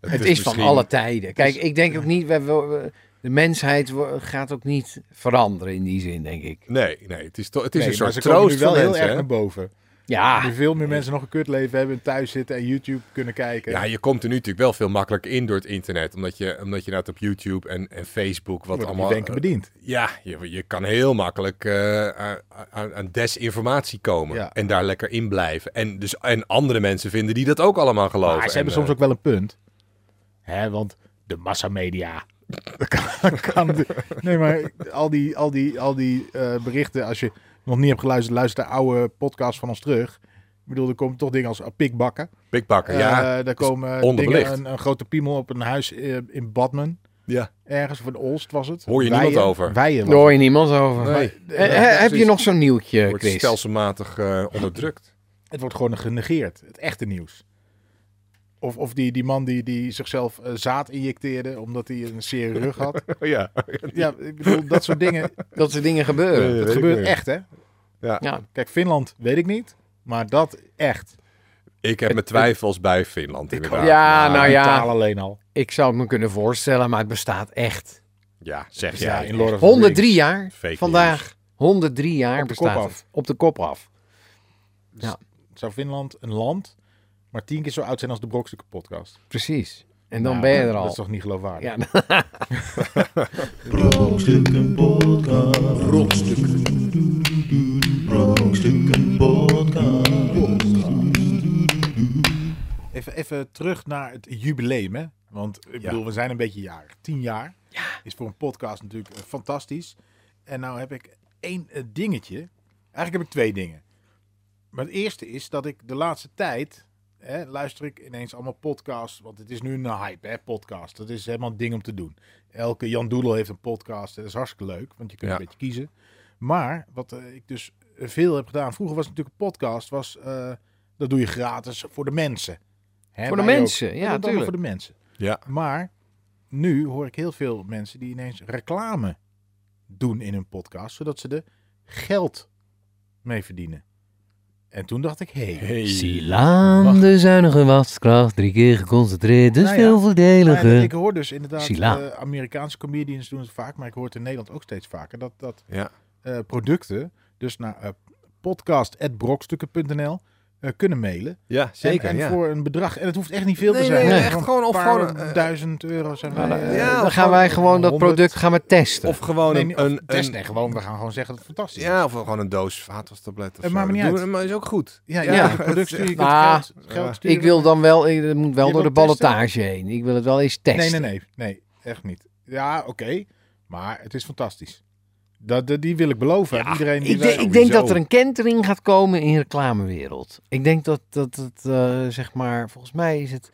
D: Het is van
B: misschien-
D: alle tijden. Kijk, ik denk ook niet, we, we- we- de mensheid wo- gaat ook niet veranderen in die zin, denk ik.
B: Nee, nee, het is, toch het is
C: Nee,
B: een
C: maar
B: soort
C: ze komen
B: troost
C: nu wel
B: voor
C: heel
B: mensen.
C: erg
B: hè? Ah.
C: naar boven.
D: Ja,
C: Nu veel meer mensen nog een kutleven hebben en thuis zitten en YouTube kunnen kijken.
B: Ja, je komt er nu natuurlijk wel veel makkelijker in door het internet. Omdat je, omdat je nou op YouTube en, en Facebook, wat
C: Wordt op
B: allemaal... eh,
C: je denken bediend.
B: Ja, je, je kan heel makkelijk eh, aan- aan, aan desinformatie komen.
C: Ja.
B: En daar lekker in blijven. En, dus, en andere mensen vinden die dat ook allemaal geloven.
C: Maar ze hebben
B: En, eh,
H: eh,
C: soms ook wel een punt. Hè, want de massamedia. Dat kan, dat kan- nee, maar al die, al die, al die eh, berichten, als je nog niet hebt geluisterd, luister de oude podcast van ons terug. Ik bedoel, er komen toch dingen als eh, pikbakken.
B: eh, Pikbakken, ja.
C: Eh, daar komen eh,
B: onderbelicht.
C: dingen, een, een grote piemel op een huis eh, in Badman.
B: ja.
C: Ergens, voor de Olst was het.
B: Hoor je niemand
C: Weien-
B: over.
C: Weien
D: daar
C: was
D: hoor je niemand over.
B: Nee.
D: Eh, eh, heb je nog zo'n nieuwtje,
B: Wordt
D: Chris?
H: eh,
B: stelselmatig eh, onderdrukt.
C: Het wordt gewoon genegeerd. Het echte nieuws. Of, of die, die man die, die zichzelf eh, zaad injecteerde omdat hij een serie rug had.
H: ja,
C: Oh, ja, ik bedoel, dat soort dingen.
D: Dat soort dingen gebeuren.
H: Ja,
C: dat
H: weet ik
C: gebeurt
H: niet.
C: echt, hè?
H: Ja.
D: Ja.
C: Kijk, Finland weet ik niet. Maar dat echt.
H: ik heb mijn twijfels bij Finland inderdaad.
D: Ja,
H: Maar-
D: nou
C: Die
D: ja.
C: taal alleen al.
D: Ik zou het me kunnen voorstellen, maar het bestaat echt.
H: Ja, zeg
C: Dus Ja,
H: jij.
C: in Lord of the
D: 103 jaar
H: Fake
D: vandaag. 103 jaar
C: Op de
D: bestaat
C: kop
D: het.
C: af.
D: Op de kop af.
C: Rings. Zou Finland een land maar tien keer zo oud zijn als de Brokstukken podcast?
D: Precies. En dan
C: Nou,
D: ben je er
C: Dat is
D: al.
C: toch niet geloofwaardig?
D: Ja,
B: Brokstukken podcast. Brokstukken podcast.
C: Even, even terug naar het jubileum, hè? Want ik
H: Ja.
C: bedoel, we zijn een beetje jarig. Tien jaar is voor een podcast natuurlijk eh, fantastisch. En nou heb ik één eh, dingetje. Eigenlijk heb ik twee dingen. Maar het eerste is dat ik de laatste tijd... Hè, luister ik ineens allemaal podcasts. Want het is nu een hype, hè, podcast. Dat is helemaal een ding om te doen. Elke Jan Doedel heeft een podcast. Dat is hartstikke leuk, want je kunt
H: Ja.
C: een beetje kiezen. Maar wat eh, ik dus veel heb gedaan... Vroeger was het natuurlijk een podcast. Was, eh, dat doe je gratis voor de mensen. Hè,
D: Voor de
C: wij ook.
D: mensen, ja,
C: dat allemaal
D: tuurlijk.
C: Voor de mensen.
H: Ja.
C: Maar nu hoor ik heel veel mensen die ineens reclame doen in hun podcast, zodat ze er geld mee verdienen. En toen dacht ik, hé, hey,
H: Hey.
D: Silaan,
C: Wacht.
D: de zuinige waskracht, drie keer geconcentreerd, dus
C: Nou ja.
D: veel
C: nou ja, ik
D: voordeliger.
C: hoor dus inderdaad,
D: Sila.
C: eh, Amerikaanse comedians doen het vaak, maar ik hoor het in Nederland ook steeds vaker, dat, dat
H: Ja.
C: eh, producten dus naar eh podcast.brokstukken.nl eh, kunnen mailen.
H: Ja, zeker.
C: en en
H: ja.
C: voor een bedrag, en het hoeft echt niet veel te
H: Nee,
C: zijn.
H: nee,
C: hè,
H: echt
C: want
H: gewoon
C: een
H: of
C: paar
H: gewoon, eh, nou,
C: duizend euro zijn wij... eh,
H: ja,
D: Dan
H: of
D: gaan wij gewoon dat
C: 100.
D: product gaan we testen.
H: Of gewoon
C: Nee,
H: een,
C: niet- of
H: een,
C: test,
H: een-
C: nee, gewoon, we gaan gewoon zeggen dat het fantastisch is.
H: ja, of gewoon een doos vaatwastablet of
C: Het
H: zo.
C: maakt me niet
H: Doe-
C: uit.
H: Maar is ook goed.
C: Ja, je
H: Ja.
C: kunt het product sturen, je kunt het
D: Ah,
C: geld, het geld sturen.
D: ik wil dan wel, ik, het moet wel
C: Je
D: door de
C: wilt testen?
D: ballotage heen. Ik wil het wel eens
C: Nee,
D: testen.
C: nee, nee. Nee, echt niet. Ja, oké. Maar het is fantastisch. Dat, dat- die wil ik beloven. aan Iedereen die oh,
D: Ik, de-
C: wij-
D: ik denk dat
C: Sowieso.
D: er een kentering gaat komen in de reclamewereld. Ik denk dat dat het, eh, zeg maar, volgens mij is het...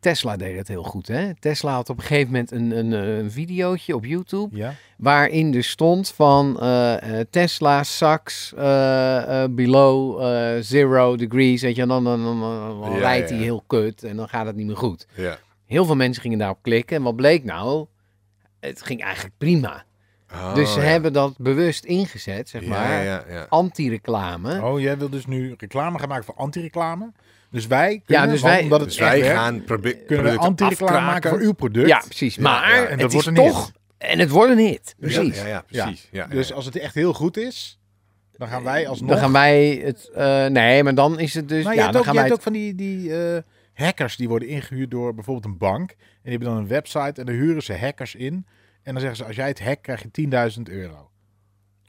D: Tesla deed dat heel goed, hè? Tesla had op een gegeven moment een, een, eh, een videootje op YouTube...
C: Ja,
D: waarin dus stond van eh, eh, Tesla sucks eh, eh, below eh, zero degrees. Weet je, en dan, dan, dan, dan, dan
H: Ja,
D: rijdt
H: ja.
D: hij heel kut en dan gaat het niet meer goed.
C: Dus
H: Ja.
D: Heel veel mensen gingen daarop klikken en wat bleek nou? Het ging eigenlijk prima.
H: Oh,
D: dus ze
H: ja.
D: hebben dat bewust ingezet, zeg
H: Ja,
D: maar.
H: Ja, ja, ja.
D: Anti-reclame.
C: Oh, jij wil dus nu reclame gaan maken voor anti-reclame. Dus wij kunnen,
D: dus
C: want
D: wij-
C: omdat het
H: Dus
C: echt
H: wij
C: werkt,
H: gaan probe-
C: kunnen we
H: producten
C: anti-reclame maken
H: afkraken.
C: voor uw product.
D: Ja, precies.
H: Ja,
D: maar
H: ja, en
C: dat
D: het is
C: wordt een hit.
D: toch... En het wordt een hit.
H: Ja,
D: Precies.
H: Ja, ja, precies. Ja. ja,
C: Dus
H: ja.
C: als het echt heel goed is, dan gaan wij alsnog...
D: Dan gaan wij het... eh, nee, maar dan is het dus...
C: Nou, je
D: ja,
C: hebt
D: dan
C: ook,
D: gaan
C: je
D: wij
C: hebt ook van die, die eh, hackers die worden ingehuurd door bijvoorbeeld een bank. En die hebben dan een website en daar huren ze hackers in. En dan zeggen ze, als jij het hackt, krijg je 10.000 euro.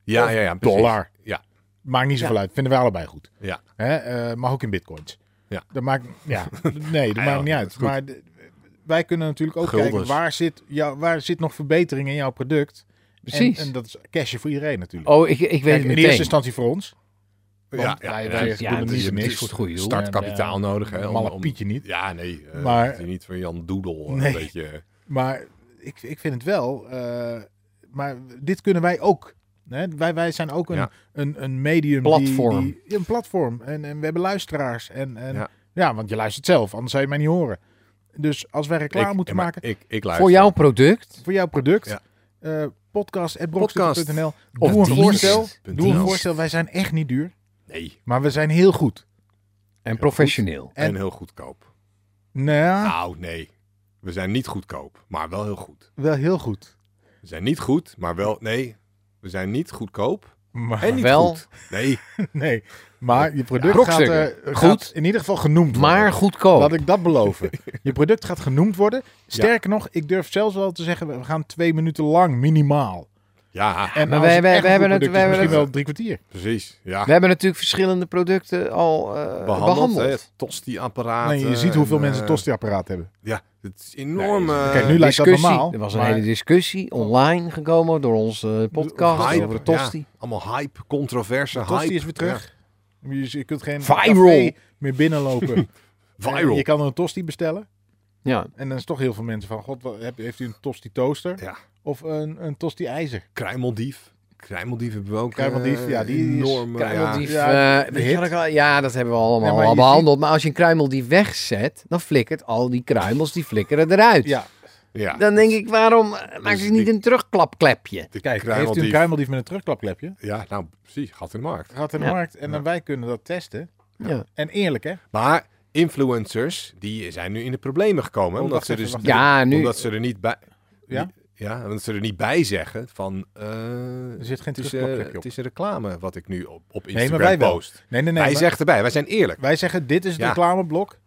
H: ja, ja, ja, precies.
C: eh, dollar.
H: Ja.
C: Maakt niet zoveel uit. Vinden we allebei goed.
H: Ja.
C: Hè? eh, mag ook in bitcoins.
H: Ja.
C: Dat maakt, ja. nee, dat
H: Ja,
C: maakt
H: ja,
C: niet uit.
H: dat is goed.
C: Maar de- wij kunnen natuurlijk ook
H: Guldens.
C: kijken, waar zit, jou, waar zit nog verbetering in jouw product?
D: Precies.
C: En, en dat is cashje voor iedereen natuurlijk.
D: Oh, ik, ik weet
C: Kijk,
D: het
C: in eerste
D: meteen.
C: instantie voor ons.
H: Ja, ja,
C: wij-
H: ja,
C: wij-
H: ja,
C: doen
H: ja,
C: het
H: dus
C: niet
H: je
C: voor
H: hebt
C: niks.
D: voor het goede doel.
H: Startkapitaal nodig. Hè, om-
C: Malle
H: om-
C: Pietje niet.
H: Ja, nee. eh,
C: Maar-
H: dat je niet van Jan Doedel eh,
C: Nee.
H: een beetje...
C: Maar ik, ik vind het wel. eh, maar dit kunnen wij ook. Hè? Wij, wij zijn ook een,
H: Ja.
C: een, een medium. die-
D: Platform.
C: Die, ja, een platform. En, en we hebben luisteraars. En, en, ja.
H: Ja.
C: want je luistert zelf, anders zou je mij niet horen. Dus als wij reclame
H: ik,
C: moeten
H: maar
C: maken
H: Ik, ik luister.
D: Voor jouw product...
C: voor jouw product.
H: Ja.
C: eh,
H: Podcast.
C: podcast.brokstukken.nl Doe
D: Of
C: een
D: dienst.
C: voorstel. Doe een
H: Dienst.
C: voorstel. Wij zijn echt niet duur.
H: Nee.
C: Maar we zijn heel goed.
D: En professioneel.
H: En,
C: En-
H: heel goedkoop.
C: Nou,
H: Nou, nee. We zijn niet goedkoop, maar wel heel goed.
C: wel heel goed.
H: We zijn niet goed, maar wel... Nee. We zijn niet goedkoop
C: Maar,
H: en niet
D: Wel-
H: goed. Nee.
C: nee, maar je product gaat,
D: Brokstukken.
C: eh,
D: Goed.
C: gaat in ieder geval genoemd worden.
D: Maar goedkoop.
C: Laat ik dat beloven. Je product gaat genoemd worden. Sterker nog, ik durf zelfs wel te zeggen, we gaan twee minuten lang minimaal.
H: Ja,
C: En
D: Maar
C: als
D: wij-
C: het
D: wij-
C: echt
D: wij
C: een
D: hebben
C: goed product
D: het- wij
C: is,
D: hebben
C: misschien
H: het-
C: wel drie kwartier.
H: precies. Ja.
D: We hebben natuurlijk verschillende producten al eh, behandeld.
H: behandeld. hè, Tosti-apparaat.
C: Nee, je
B: eh,
C: ziet hoeveel mensen
H: tosti.
C: tosti-apparaat hebben.
H: Ja, het is enorm.
C: Nee,
H: eh,
C: kijk, nu lijkt dat
D: discussie.
C: normaal,
D: Er was een
C: maar-
D: hele discussie online gekomen door onze eh, podcast
H: hype,
D: over de tosti.
H: ja. allemaal hype, controverse hype.
C: Tosti is weer terug. Je, je kunt geen
D: Viral.
C: café meer binnenlopen.
H: Ja, viral.
C: Je kan er een tosti bestellen.
D: Ja.
C: En dan is toch heel veel mensen van, god, wat, heb- heeft u een tosti toaster?
H: Ja,
C: Of een, een tosti ijzer?
H: kruimeldief.
B: Kruimeldief hebben we ook.
C: Kruimeldief,
B: eh,
C: ja, die is-
B: enorme,
D: Kruimeldief,
C: ja.
D: ja,
C: Ja,
D: weet
C: hit.
D: je wat ik al- ja, dat hebben we allemaal
C: Ja, maar
D: al
C: je
D: behandeld. Maar als je een kruimeldief wegzet, dan flikkert al die kruimels, die flikkeren eruit.
C: Ja, Dus
B: Ja, ja.
D: Dan denk ik, waarom eh, maak je
B: die-
D: niet een terugklapklepje?
B: De
C: kijk, heeft u
B: kruimeldief.
C: een kruimeldief met een terugklapklepje?
B: Ja, nou precies, gat in de markt.
C: Gaat in de
D: Ja.
C: markt en dan wij kunnen dat testen.
D: Ja.
C: En eerlijk, hè?
B: Maar influencers, die zijn nu in de problemen gekomen.
C: Oh,
B: Omdat
C: wacht
B: ze,
C: even,
B: dus,
C: wacht
D: Ja, nu.
B: omdat ze er niet bij...
C: Ja?
B: Ja, omdat ze er niet bij zeggen van... eh,
C: Er zit geen
B: het, is, eh,
C: terugklapklepje op.
B: het is een reclame wat ik nu op, op
C: maar
B: Instagram
C: wij wel.
B: post.
C: Nee, nee, nee.
B: wij
C: maar-
B: zeggen erbij, wij zijn eerlijk.
C: Wij zeggen, dit is het
B: Ja.
C: reclameblok.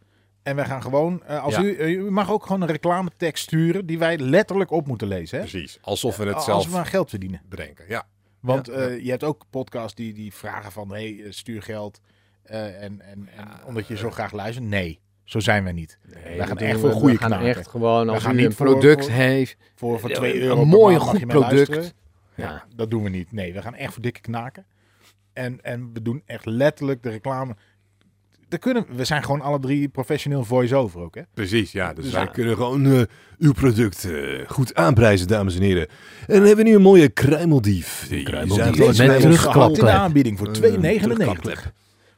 C: En wij gaan gewoon, eh, als
B: Ja.
C: u, eh, u mag ook gewoon een reclametekst sturen die wij letterlijk op moeten lezen.
D: Dus
C: Hè?
B: Precies, alsof we het
C: Als
B: zelf
C: we maar geld verdienen.
B: bedenken. Ja,
C: Want
B: Ja,
C: eh, je hebt ook podcasts die, die vragen van, hé, hey, eh, stuur geld. eh, en, en, en omdat je zo graag luistert. Nee, zo zijn wij niet.
D: Nee,
C: gaan
D: dat
C: echt
D: doen
C: voor
D: we-
C: goede
D: We gaan
C: knaken.
D: echt gewoon,
C: We
D: als
C: gaan
D: u
C: niet
D: een
C: voor-
D: product
C: voor-
D: heeft,
C: Voor, voor
D: een-
C: 2
D: een
C: euro per
D: mooi,
C: maand mag
D: goed
C: je mee luisteren.
D: product. ja. Nou,
C: Dat doen we niet. Nee, we gaan echt voor dikke knaken. En, en we doen echt letterlijk de reclame. Daar kunnen, we zijn gewoon alle drie professioneel voice-over ook, hè?
B: precies. Ja. Dus,
C: Dus
B: wij
D: ja.
B: kunnen gewoon eh, uw product eh, goed aanprijzen, dames en heren. En dan hebben we nu een mooie kruimeldief. Die
D: Kruimeldief.
B: zijn volgens
D: Met
B: mij-
D: terug-
C: gehad in de
D: terugklapklep.
C: aanbieding voor
B: Eh,
C: 2,99.
B: terugklapklep.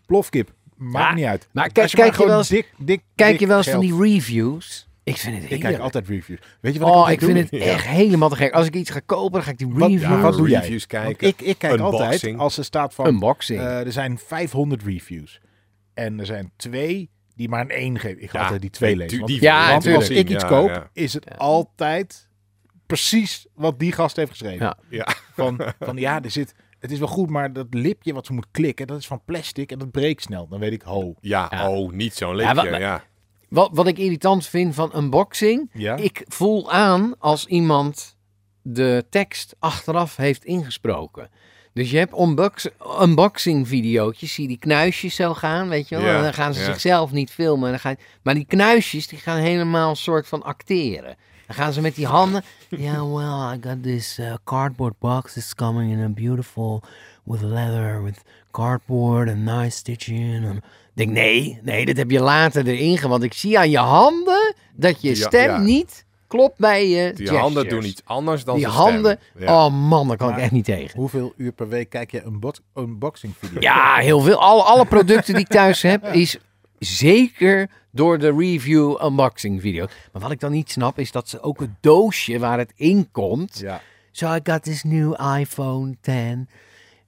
C: Plofkip. Maakt
D: Ja,
C: niet uit.
D: Maar
C: Als
D: kijk, kijk,
C: maar
D: je
C: gewoon
D: wel eens,
C: dik, dik,
D: kijk
C: dik
D: je wel eens van
C: geld-
D: die reviews? Ik vind het
C: Ik kijk
D: heerlijk.
C: altijd reviews. Weet je wat
D: Oh,
C: ik,
D: ik
C: altijd doe?
D: vind het echt helemaal te gek. Als ik iets ga kopen, dan ga ik die
C: Wat-
D: reviews...
C: ja, wat doe jij?
B: Reviews
C: Want
B: kijken.
C: ik, ik kijk altijd
B: Unboxing.
C: als er staat van...
D: Unboxing.
C: eh, er zijn 500 reviews. En er zijn twee die maar een 1 geven. Ik ga
B: Ja,
C: altijd die twee
B: die-
C: lezen.
B: die-
D: Ja,
C: want
D: tuurlijk.
C: als ik iets
B: Ja,
C: koop,
B: ja.
C: is het altijd precies wat die gast heeft geschreven.
D: Ja.
B: Ja.
C: Van, van ja, er zit, het is wel goed, maar dat lipje wat ze moet klikken, dat is van plastic en dat breekt snel. Dan weet ik, ho.
B: Ja,
D: Ja.
B: oh, niet zo'n
D: Ja,
B: lipje. Ja,
D: wat- Wat, wat ik irritant vind van unboxing,
C: Ja?
D: ik voel aan als iemand de tekst achteraf heeft ingesproken. Dus je hebt unbox, unboxing videootjes, zie je die knuisjes zo gaan, weet je wel.
B: Ja,
D: en dan gaan ze
B: ja.
D: zichzelf niet filmen. En dan gaan, maar die knuisjes, die gaan helemaal een soort van acteren. Dan gaan ze met die handen. Yeah, well, I got this uh, cardboard box. It's coming in a beautiful, with leather, with cardboard and nice stitching. En Ik denk, nee, nee, dat heb je later erin ge- Want ik zie aan je handen dat je
B: Ja,
D: stem
B: ja.
D: niet klopt bij je
B: Die
D: gestures.
B: handen doen iets anders dan
D: Die
B: ze
D: handen,
B: stemmen. Ja.
D: oh man, daar kan
C: Maar-
D: ik echt niet tegen.
C: Hoeveel uur per week kijk je een bot- unboxing video?
D: Ja, heel veel. Alle, alle producten die ik thuis heb, is zeker door de review unboxing video. Maar wat ik dan niet snap, is dat ze ook het doosje waar het in komt.
C: Ja.
D: So I got this new iPhone 10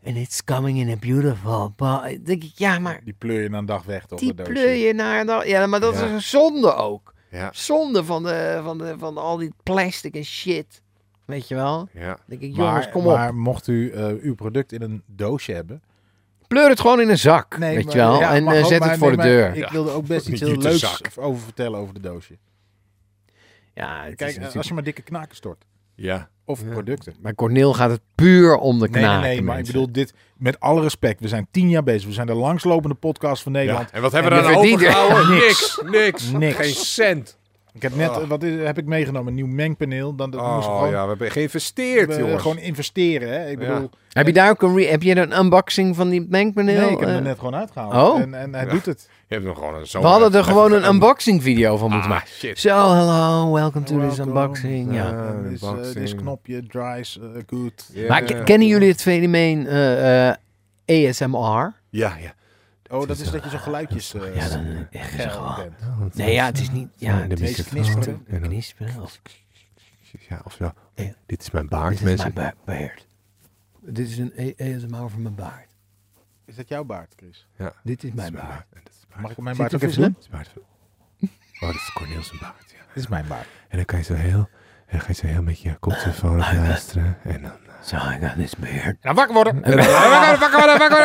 D: and it's coming in a beautiful bo- denk ik, ja, maar
C: Die pleur je dan een dag weg, toch?
D: die
C: dat doosje?
D: pleur je naar... dat- Ja, maar dat
B: Ja.
D: is een zonde ook.
B: Ja,
D: Zonde van, de, van, de, van al die plastic en shit. Weet je wel?
B: ja.
D: Denk ik, jongens,
C: Maar,
D: kom op.
C: maar mocht u eh, uw product in een doosje hebben...
D: Pleur het gewoon in een zak, weet
C: maar-
D: je wel.
C: ja,
D: en
C: mag
D: eh,
C: ook,
D: zet
C: maar-
D: het
C: nee,
D: voor de
C: maar
D: deur.
C: Ik wilde ook best iets
B: Niet
C: heel
B: de
C: leuks
B: zak.
C: over vertellen over de doosje.
D: Ja, het
C: Kijk, eh,
D: is natuurlijk-
C: als je maar dikke knaken stort.
B: ja.
C: Of producten.
D: Maar Corneel gaat het puur om de
C: Nee,
D: knaken.
C: nee, nee, maar ik
D: mensen.
C: bedoel dit met alle respect. We zijn tien jaar bezig. We zijn de langslopende podcast van Nederland.
B: En wat hebben we
D: En
B: daar
D: je
B: nou
D: verdient er
B: overgehouden?
D: niks.
B: Niks, niks,
C: Niks.
B: Geen cent.
C: Ik heb net, eh, wat is, heb ik meegenomen? Een nieuw mengpaneel. Dan dat moesten we
B: Ah. Oh
C: gewoon,
B: ja, we hebben geïnvesteerd,
C: we-
B: jongens.
C: gewoon investeren. Hè? Ik
B: Ja.
C: bedoel,
D: Heb je daar ook een, re- heb je een unboxing van die mengpaneel?
C: nee, ik heb
D: Eh,
C: hem er net gewoon uitgehaald.
D: Oh.
C: En, en hij
B: Ja.
C: doet het.
B: Je hebt nog gewoon een zomer.
D: We hadden er gewoon een unboxing video van moeten
B: Ah,
D: maken.
B: shit.
D: So, hello, welcome to this
C: Welkom.
D: unboxing. Ja.
B: Ja,
C: En dit is, eh,
B: unboxing.
C: dit is knopje, dries, eh, good.
B: Ja.
D: Maar ke- kennen jullie het fenomeen eh, eh, ASMR?
B: Ja, ja.
C: Oh, dat is dat je zo geluidjes eh
D: Ja, dan echt
C: geil
D: zo.
C: bent.
D: Nee, ja, het is niet. Ja,
B: de
D: het is
C: meeste knisperen.
D: een knisperen. Of,
B: Ja, of zo.
D: Ja.
B: Dit is mijn baard,
D: dit is mijn ba- baard. Dit is een A- ASMR van mijn baard.
C: Is dat jouw baard, Chris?
B: Ja.
D: Dit is mijn
B: Dit is
D: baard.
B: En dit is mijn
C: Mag ik mijn
D: Zit
C: baard ook
D: er
C: even doen?
B: Dit is mijn baard van- Oh, dat is Corneel zijn baard, ja.
C: Dit is mijn baard.
B: En dan kan je zo heel... En dan ga je zo heel met je koptelefoon luisteren. En dan... eh,
D: So, I got this beard.
C: Nou, wakker worden! Nee,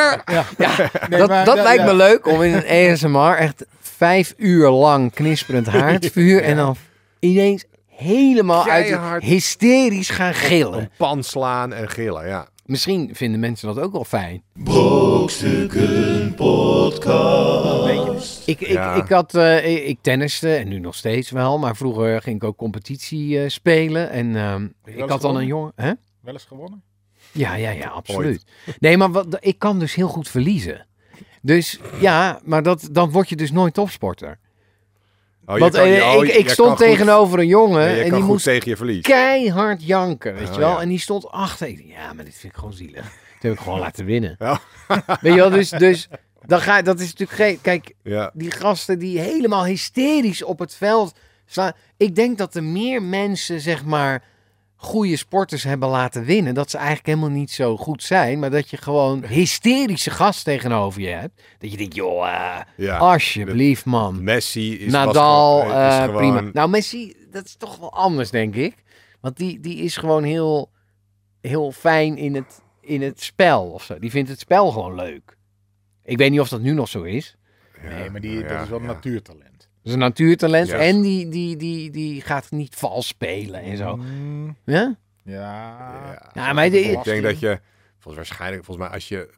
D: dat
C: maar
D: dat
C: da-
D: lijkt
C: ja.
D: me leuk om in een ASMR echt vijf uur lang knisperend haardvuur en dan ineens helemaal uit
B: Keihard.
D: hysterisch gaan gillen.
B: Een pan slaan en gillen, ja.
D: Misschien vinden mensen dat ook wel fijn.
I: Brokstukken Podcast.
D: Ik, ik,
B: Ja.
D: ik, had, eh, ik, ik tenniste, en nu nog steeds wel, maar vroeger ging ik ook competitie eh, spelen. En ehm,
C: eens
D: ik had dan
C: gewonnen?
D: een jongen... Hè?
C: Wel eens gewonnen?
D: Ja, ja, ja, absoluut. Nee, maar wat, ik kan dus heel goed verliezen. Dus ja, maar dat, dan word je dus nooit topsporter.
H: Oh, je
D: Want
H: kan-
D: eh,
H: oh,
D: ik,
H: je
D: ik
H: kan
D: stond
H: goed-
D: tegenover een jongen
H: ja, je
D: en
H: kan
D: die
H: goed
D: moest
H: tegen je verlies.
D: keihard janken, weet
H: Oh,
D: je wel.
H: ja.
D: En die stond achter. Ik dacht, ja, maar dit vind ik gewoon zielig. Dat heb ik gewoon laten winnen.
H: Ja.
D: Weet je wel, dus, dus dan ga, dat is natuurlijk geen... Kijk,
H: Ja.
D: die gasten die helemaal hysterisch op het veld slaan. Ik denk dat er meer mensen, zeg maar, goede sporters hebben laten winnen. Dat ze eigenlijk helemaal niet zo goed zijn. Maar dat je gewoon hysterische gast tegenover je hebt. Dat je denkt, joh, eh,
H: Ja.
D: alsjeblieft man.
H: Messi is
D: Nadal,
H: was gewoon- is
D: eh,
H: gewoon-
D: prima. Nou, Messi, dat is toch wel anders, denk ik. Want die, die is gewoon heel, heel fijn in het, in het spel of zo. Die vindt het spel gewoon leuk. Ik weet niet of dat nu nog zo is.
H: Ja,
C: nee, maar die,
H: ja,
C: dat is wel een
H: ja.
C: natuurtalent.
D: Dat is een natuurtalent.
H: Ja.
D: En die, die, die, die gaat niet vals spelen en
H: Mm-hmm.
D: zo.
C: Mm,
D: Ja?
C: ja.
D: Ja, Nou, maar de-
H: Ik denk dat je, volgens, waarschijnlijk, volgens mij, als je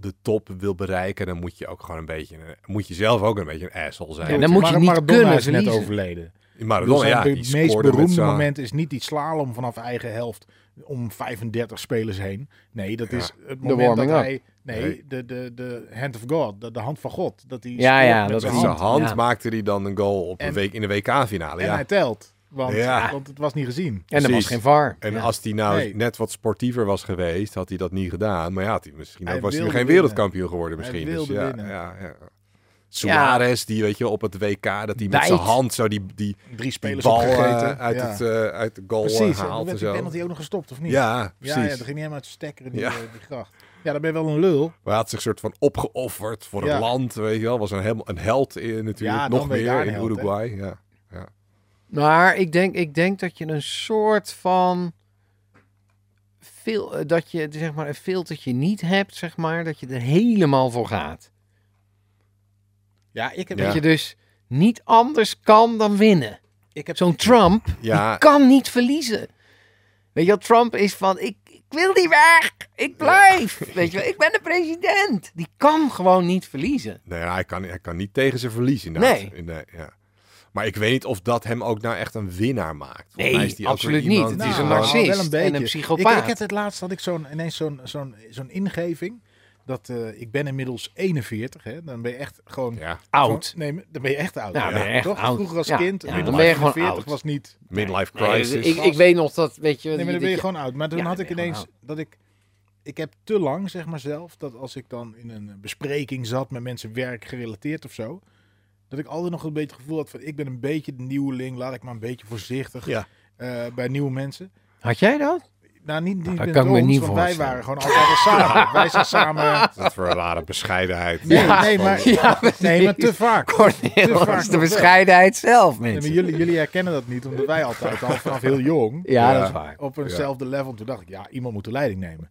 H: de top wil bereiken, dan moet je ook gewoon een beetje, een- moet je zelf ook een beetje een asshole zijn.
D: Ja, dan moet je
C: Mar-
D: niet
C: Maradona
D: kunnen
C: is net
D: verliezen.
C: overleden.
H: Maradona,
C: Zijn
H: ja,
C: be-
H: die
C: meest
H: scoorde met
C: beroemde
H: zijn-
C: moment is niet die slalom vanaf eigen helft om 35 spelers heen. Nee, dat
H: Ja.
C: is het moment dat
D: warming-up.
C: hij... Nee,
H: Nee.
C: de, de, de hand of God, de, de hand van God. Dat hij
D: Ja,
C: scoort
D: ja,
C: met
D: dat
H: Met
C: zijn
D: is
H: zijn
C: hand.
H: hand
D: Ja.
H: maakte hij dan een goal op een
C: En-
H: week, in de WK-finale.
C: En
H: Ja.
C: hij telt, want,
H: Ja.
C: want het was niet gezien.
D: En er was
H: Precies.
D: geen var.
H: En
D: Ja.
H: als hij nou
C: Nee.
H: net wat sportiever was geweest, had hij dat niet gedaan. Maar ja, had hij misschien
C: Hij
H: ook, was hij nog
C: wilde
H: geen
C: winnen.
H: wereldkampioen geworden
C: Hij
H: misschien.
C: wilde
H: dus ja,
C: winnen.
H: ja, ja. Suarez, die weet je, op het WK, dat hij met
D: Bijt.
H: zijn hand zo die, die,
C: Drie
H: die
C: spelers
H: bal eh,
C: opgegeten.
H: uit,
C: ja.
H: het, eh, uit de goal eh,
C: Precies, en dan
H: haalt en
C: werd die
H: zo.
C: penalty ook nog gestopt, of niet?
H: Ja, precies.
C: ja, ja dat ging niet helemaal uit de stekker in die,
H: Ja.
C: eh, die gracht. Ja, dan ben je wel een lul.
H: Maar hij had zich soort van opgeofferd voor
C: Ja.
H: het land, weet je wel. Was een, helemaal een held in, natuurlijk,
C: Ja, dan
H: nog
C: ben je daar
H: meer
C: een
H: in
C: held, hè?
H: Uruguay. Ja.
D: Maar ik denk, ik denk dat je een soort van. Veel, eh, dat je zeg maar, een filtertje niet hebt, zeg maar, dat je er helemaal voor gaat.
C: Ja, ik heb,
H: Ja.
D: Dat je dus niet anders kan dan winnen.
C: Ik heb
D: Zo'n Trump
H: Ja,
D: kan niet verliezen. Weet je, wel, Trump is van: ik, ik wil niet weg, ik blijf. Weet je, wel, ik ben de president. Die kan gewoon niet verliezen.
H: Nee, Nou hij kan, hij kan niet tegen zijn verlies inderdaad.
D: Nee.
H: Nee. ja. Maar ik weet niet of dat hem ook nou echt een winnaar maakt. Volgens
D: Nee,
H: mij is die ook weer
D: absoluut
H: iemand
D: niet.
H: die
D: Het is een
H: gewoon-
D: narcist
C: Nou, wel
D: en een
C: beetje.
D: psychopaat.
C: Ik, ik had het laatst had ik zo'n ineens zo'n zo'n zo'n ingeving dat eh, ik ben inmiddels 41. Hè, dan ben je echt gewoon
H: Ja,
D: Oud.
C: Gewoon, nee, maar dan ben je echt oud.
D: Ja, ben je echt
C: toch?
D: oud.
C: Vroeger als
D: Ja,
C: kind,
D: ja,
C: middel
H: dan ben je
D: gewoon
C: 48
D: oud.
C: was niet.
H: midlife crisis.
D: Nee, dus ik, ik weet nog dat, weet je.
C: Nee, maar dan
D: dat
C: ben je
D: je-
C: gewoon oud. Maar toen
D: Ja, dan
C: had ik
D: ben je gewoon
C: ineens dat ik ik heb te lang zeg maar zelf dat als ik dan in een bespreking zat met mensen werk gerelateerd of zo, dat ik altijd nog een beetje het gevoel had van ik ben een beetje de nieuweling, laat ik maar een beetje voorzichtig
H: Ja.
C: eh, bij nieuwe mensen.
D: Had jij dat?
C: Nou, niet, niet
D: dat
C: met
D: kan ik me
C: ons,
D: niet
C: want wij
D: voorstellen.
C: waren gewoon altijd al samen. wij zijn samen...
H: Wat voor een rare bescheidenheid.
C: Nee,
D: Ja.
C: nee, maar,
D: Ja,
C: nee, maar te vaak. Te vaak
D: Cornel
C: nog
D: is de
C: wel.
D: bescheidenheid zelf,
C: Nee, maar
D: mensen.
C: jullie, jullie herkennen dat niet, omdat wij altijd al vanaf heel jong
D: Ja,
H: Ja.
D: dat is waar.
C: op eenzelfde level. Toen dacht ik, ja, iemand moet de leiding nemen.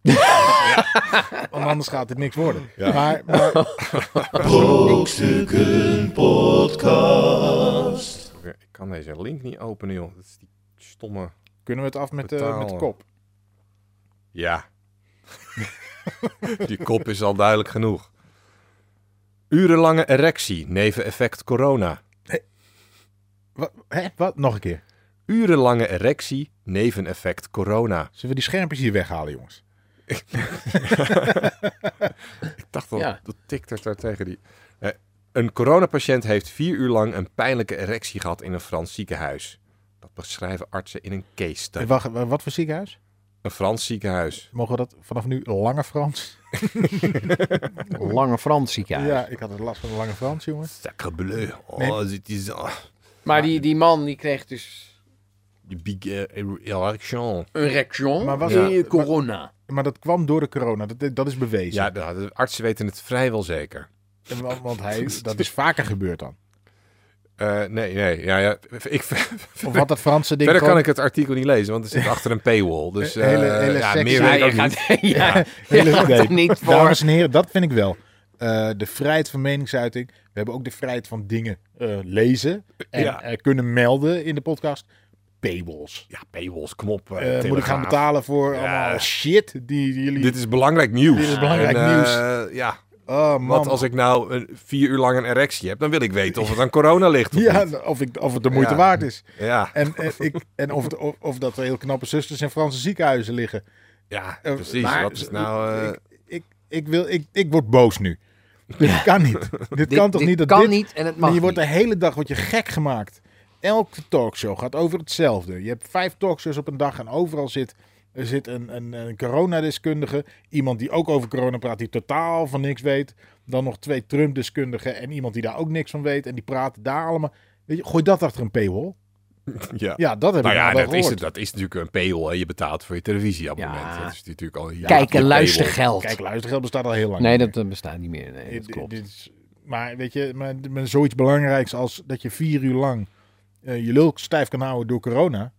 C: Want anders gaat het niks worden.
H: Ja.
C: Maar, maar
B: Brokstukken Podcast.
H: Ik kan deze link niet openen, joh. Dat is die stomme...
C: kunnen we het af met, eh,
H: Betalen.
C: met de kop?
H: Ja. die kop is al duidelijk genoeg. Urenlange erectie, neveneffect corona.
C: Wat, hè? Wat? Nog een keer.
H: Urenlange erectie, neveneffect corona.
C: Zullen we die schermpjes hier weghalen, jongens?
H: Ik dacht dat,
D: Ja.
H: dat tikt er daar tegen die. Eh, een coronapatiënt heeft vier uur lang een pijnlijke erectie gehad in een Frans ziekenhuis. Dat beschrijven artsen in een case study.
C: Eh, Wacht, wa- wat voor ziekenhuis?
H: Een Frans ziekenhuis.
C: Mogen we dat vanaf nu Lange Frans?
D: Lange Frans ziekenhuis.
C: Ja, ik had het last van de Lange Frans, jongens.
H: Sacre bleu. Oh,
C: Nee.
H: dit is. ah,
D: Maar die, die man die kreeg dus
H: de big eh, erection.
D: een rection
C: Maar was-
D: in
C: Ja.
D: corona.
C: Maar dat kwam door de corona, dat, dat is bewezen.
H: Ja, de, de artsen weten het vrijwel zeker.
C: En wa- Want hij, dat is vaker gebeurd dan.
H: Eh, nee, nee. Ja, ja, ik,
C: Of had dat Franse ding
H: verder kan
C: gewoon-
H: ik het artikel niet lezen, want het zit achter een paywall. Dus eh,
C: Hele- hele
H: ja,
C: sexy-
H: meer
D: Ja,
H: weet ik
D: je
H: ook niet.
D: gaat, ja, je
C: Hele
D: gaat er
C: idee.
D: niet voor.
C: Dames en heren, dat vind ik wel. Eh, de vrijheid van meningsuiting. We hebben ook de vrijheid van dingen eh, lezen en
H: Ja.
C: eh, kunnen melden in de podcast. Paywalls.
H: Ja, paywalls, kom op. eh,
C: Eh, moet ik gaan
H: Telegraaf.
C: betalen voor
H: Ja.
C: allemaal shit die, die jullie...
H: Dit is belangrijk nieuws.
C: Dit is belangrijk
H: En, eh,
C: nieuws.
H: ja,
C: Oh, man.
H: want als ik nou een, vier uur lang een erectie heb, dan wil ik weten of het aan corona ligt of ja.
C: Ja,
H: niet.
C: of, ik, of het de moeite
H: Ja.
C: waard is.
H: Ja,
C: En, eh, ik, en of, het, of, of dat er heel knappe zusters in Franse ziekenhuizen liggen.
H: ja
C: Eh,
H: precies.
C: maar-
H: Wat is het nou... eh,
C: Ik, ik, ik, wil, ik, ik word boos nu. Dit kan niet. Dit,
D: Dit-
C: kan toch
D: dit
C: niet? Dat
D: kan
C: dit,
D: niet en het
C: Maar
D: mag
C: je wordt
D: niet.
C: de hele dag wordt je gek gemaakt. elke talkshow gaat over hetzelfde. Je hebt vijf talkshows op een dag en overal zit, er zit een, een, een coronadeskundige. Iemand die ook over corona praat, die totaal van niks weet. Dan nog twee Trump-deskundigen en iemand die daar ook niks van weet. En die praten daar allemaal. Weet je, gooi dat achter een paywall.
H: Ja.
C: Ja, dat heb
H: Nou
C: ik
H: ja,
C: nou wel
H: dat is,
C: gehoord.
H: het- dat is natuurlijk een paywall. hè. Je betaalt voor je televisieabonnement.
D: Ja.
H: Dat is natuurlijk al ja,
D: Kijk
H: je
D: en luister
H: paywall.
D: geld.
C: Kijk, luistergeld bestaat al heel lang.
D: nee,
C: niet
D: dat eh, bestaat niet meer. Nee, dat
C: Dit-
D: klopt.
C: dit is- maar weet je, maar, maar zoiets belangrijks als dat je vier uur lang eh, je lul stijf kan houden door corona.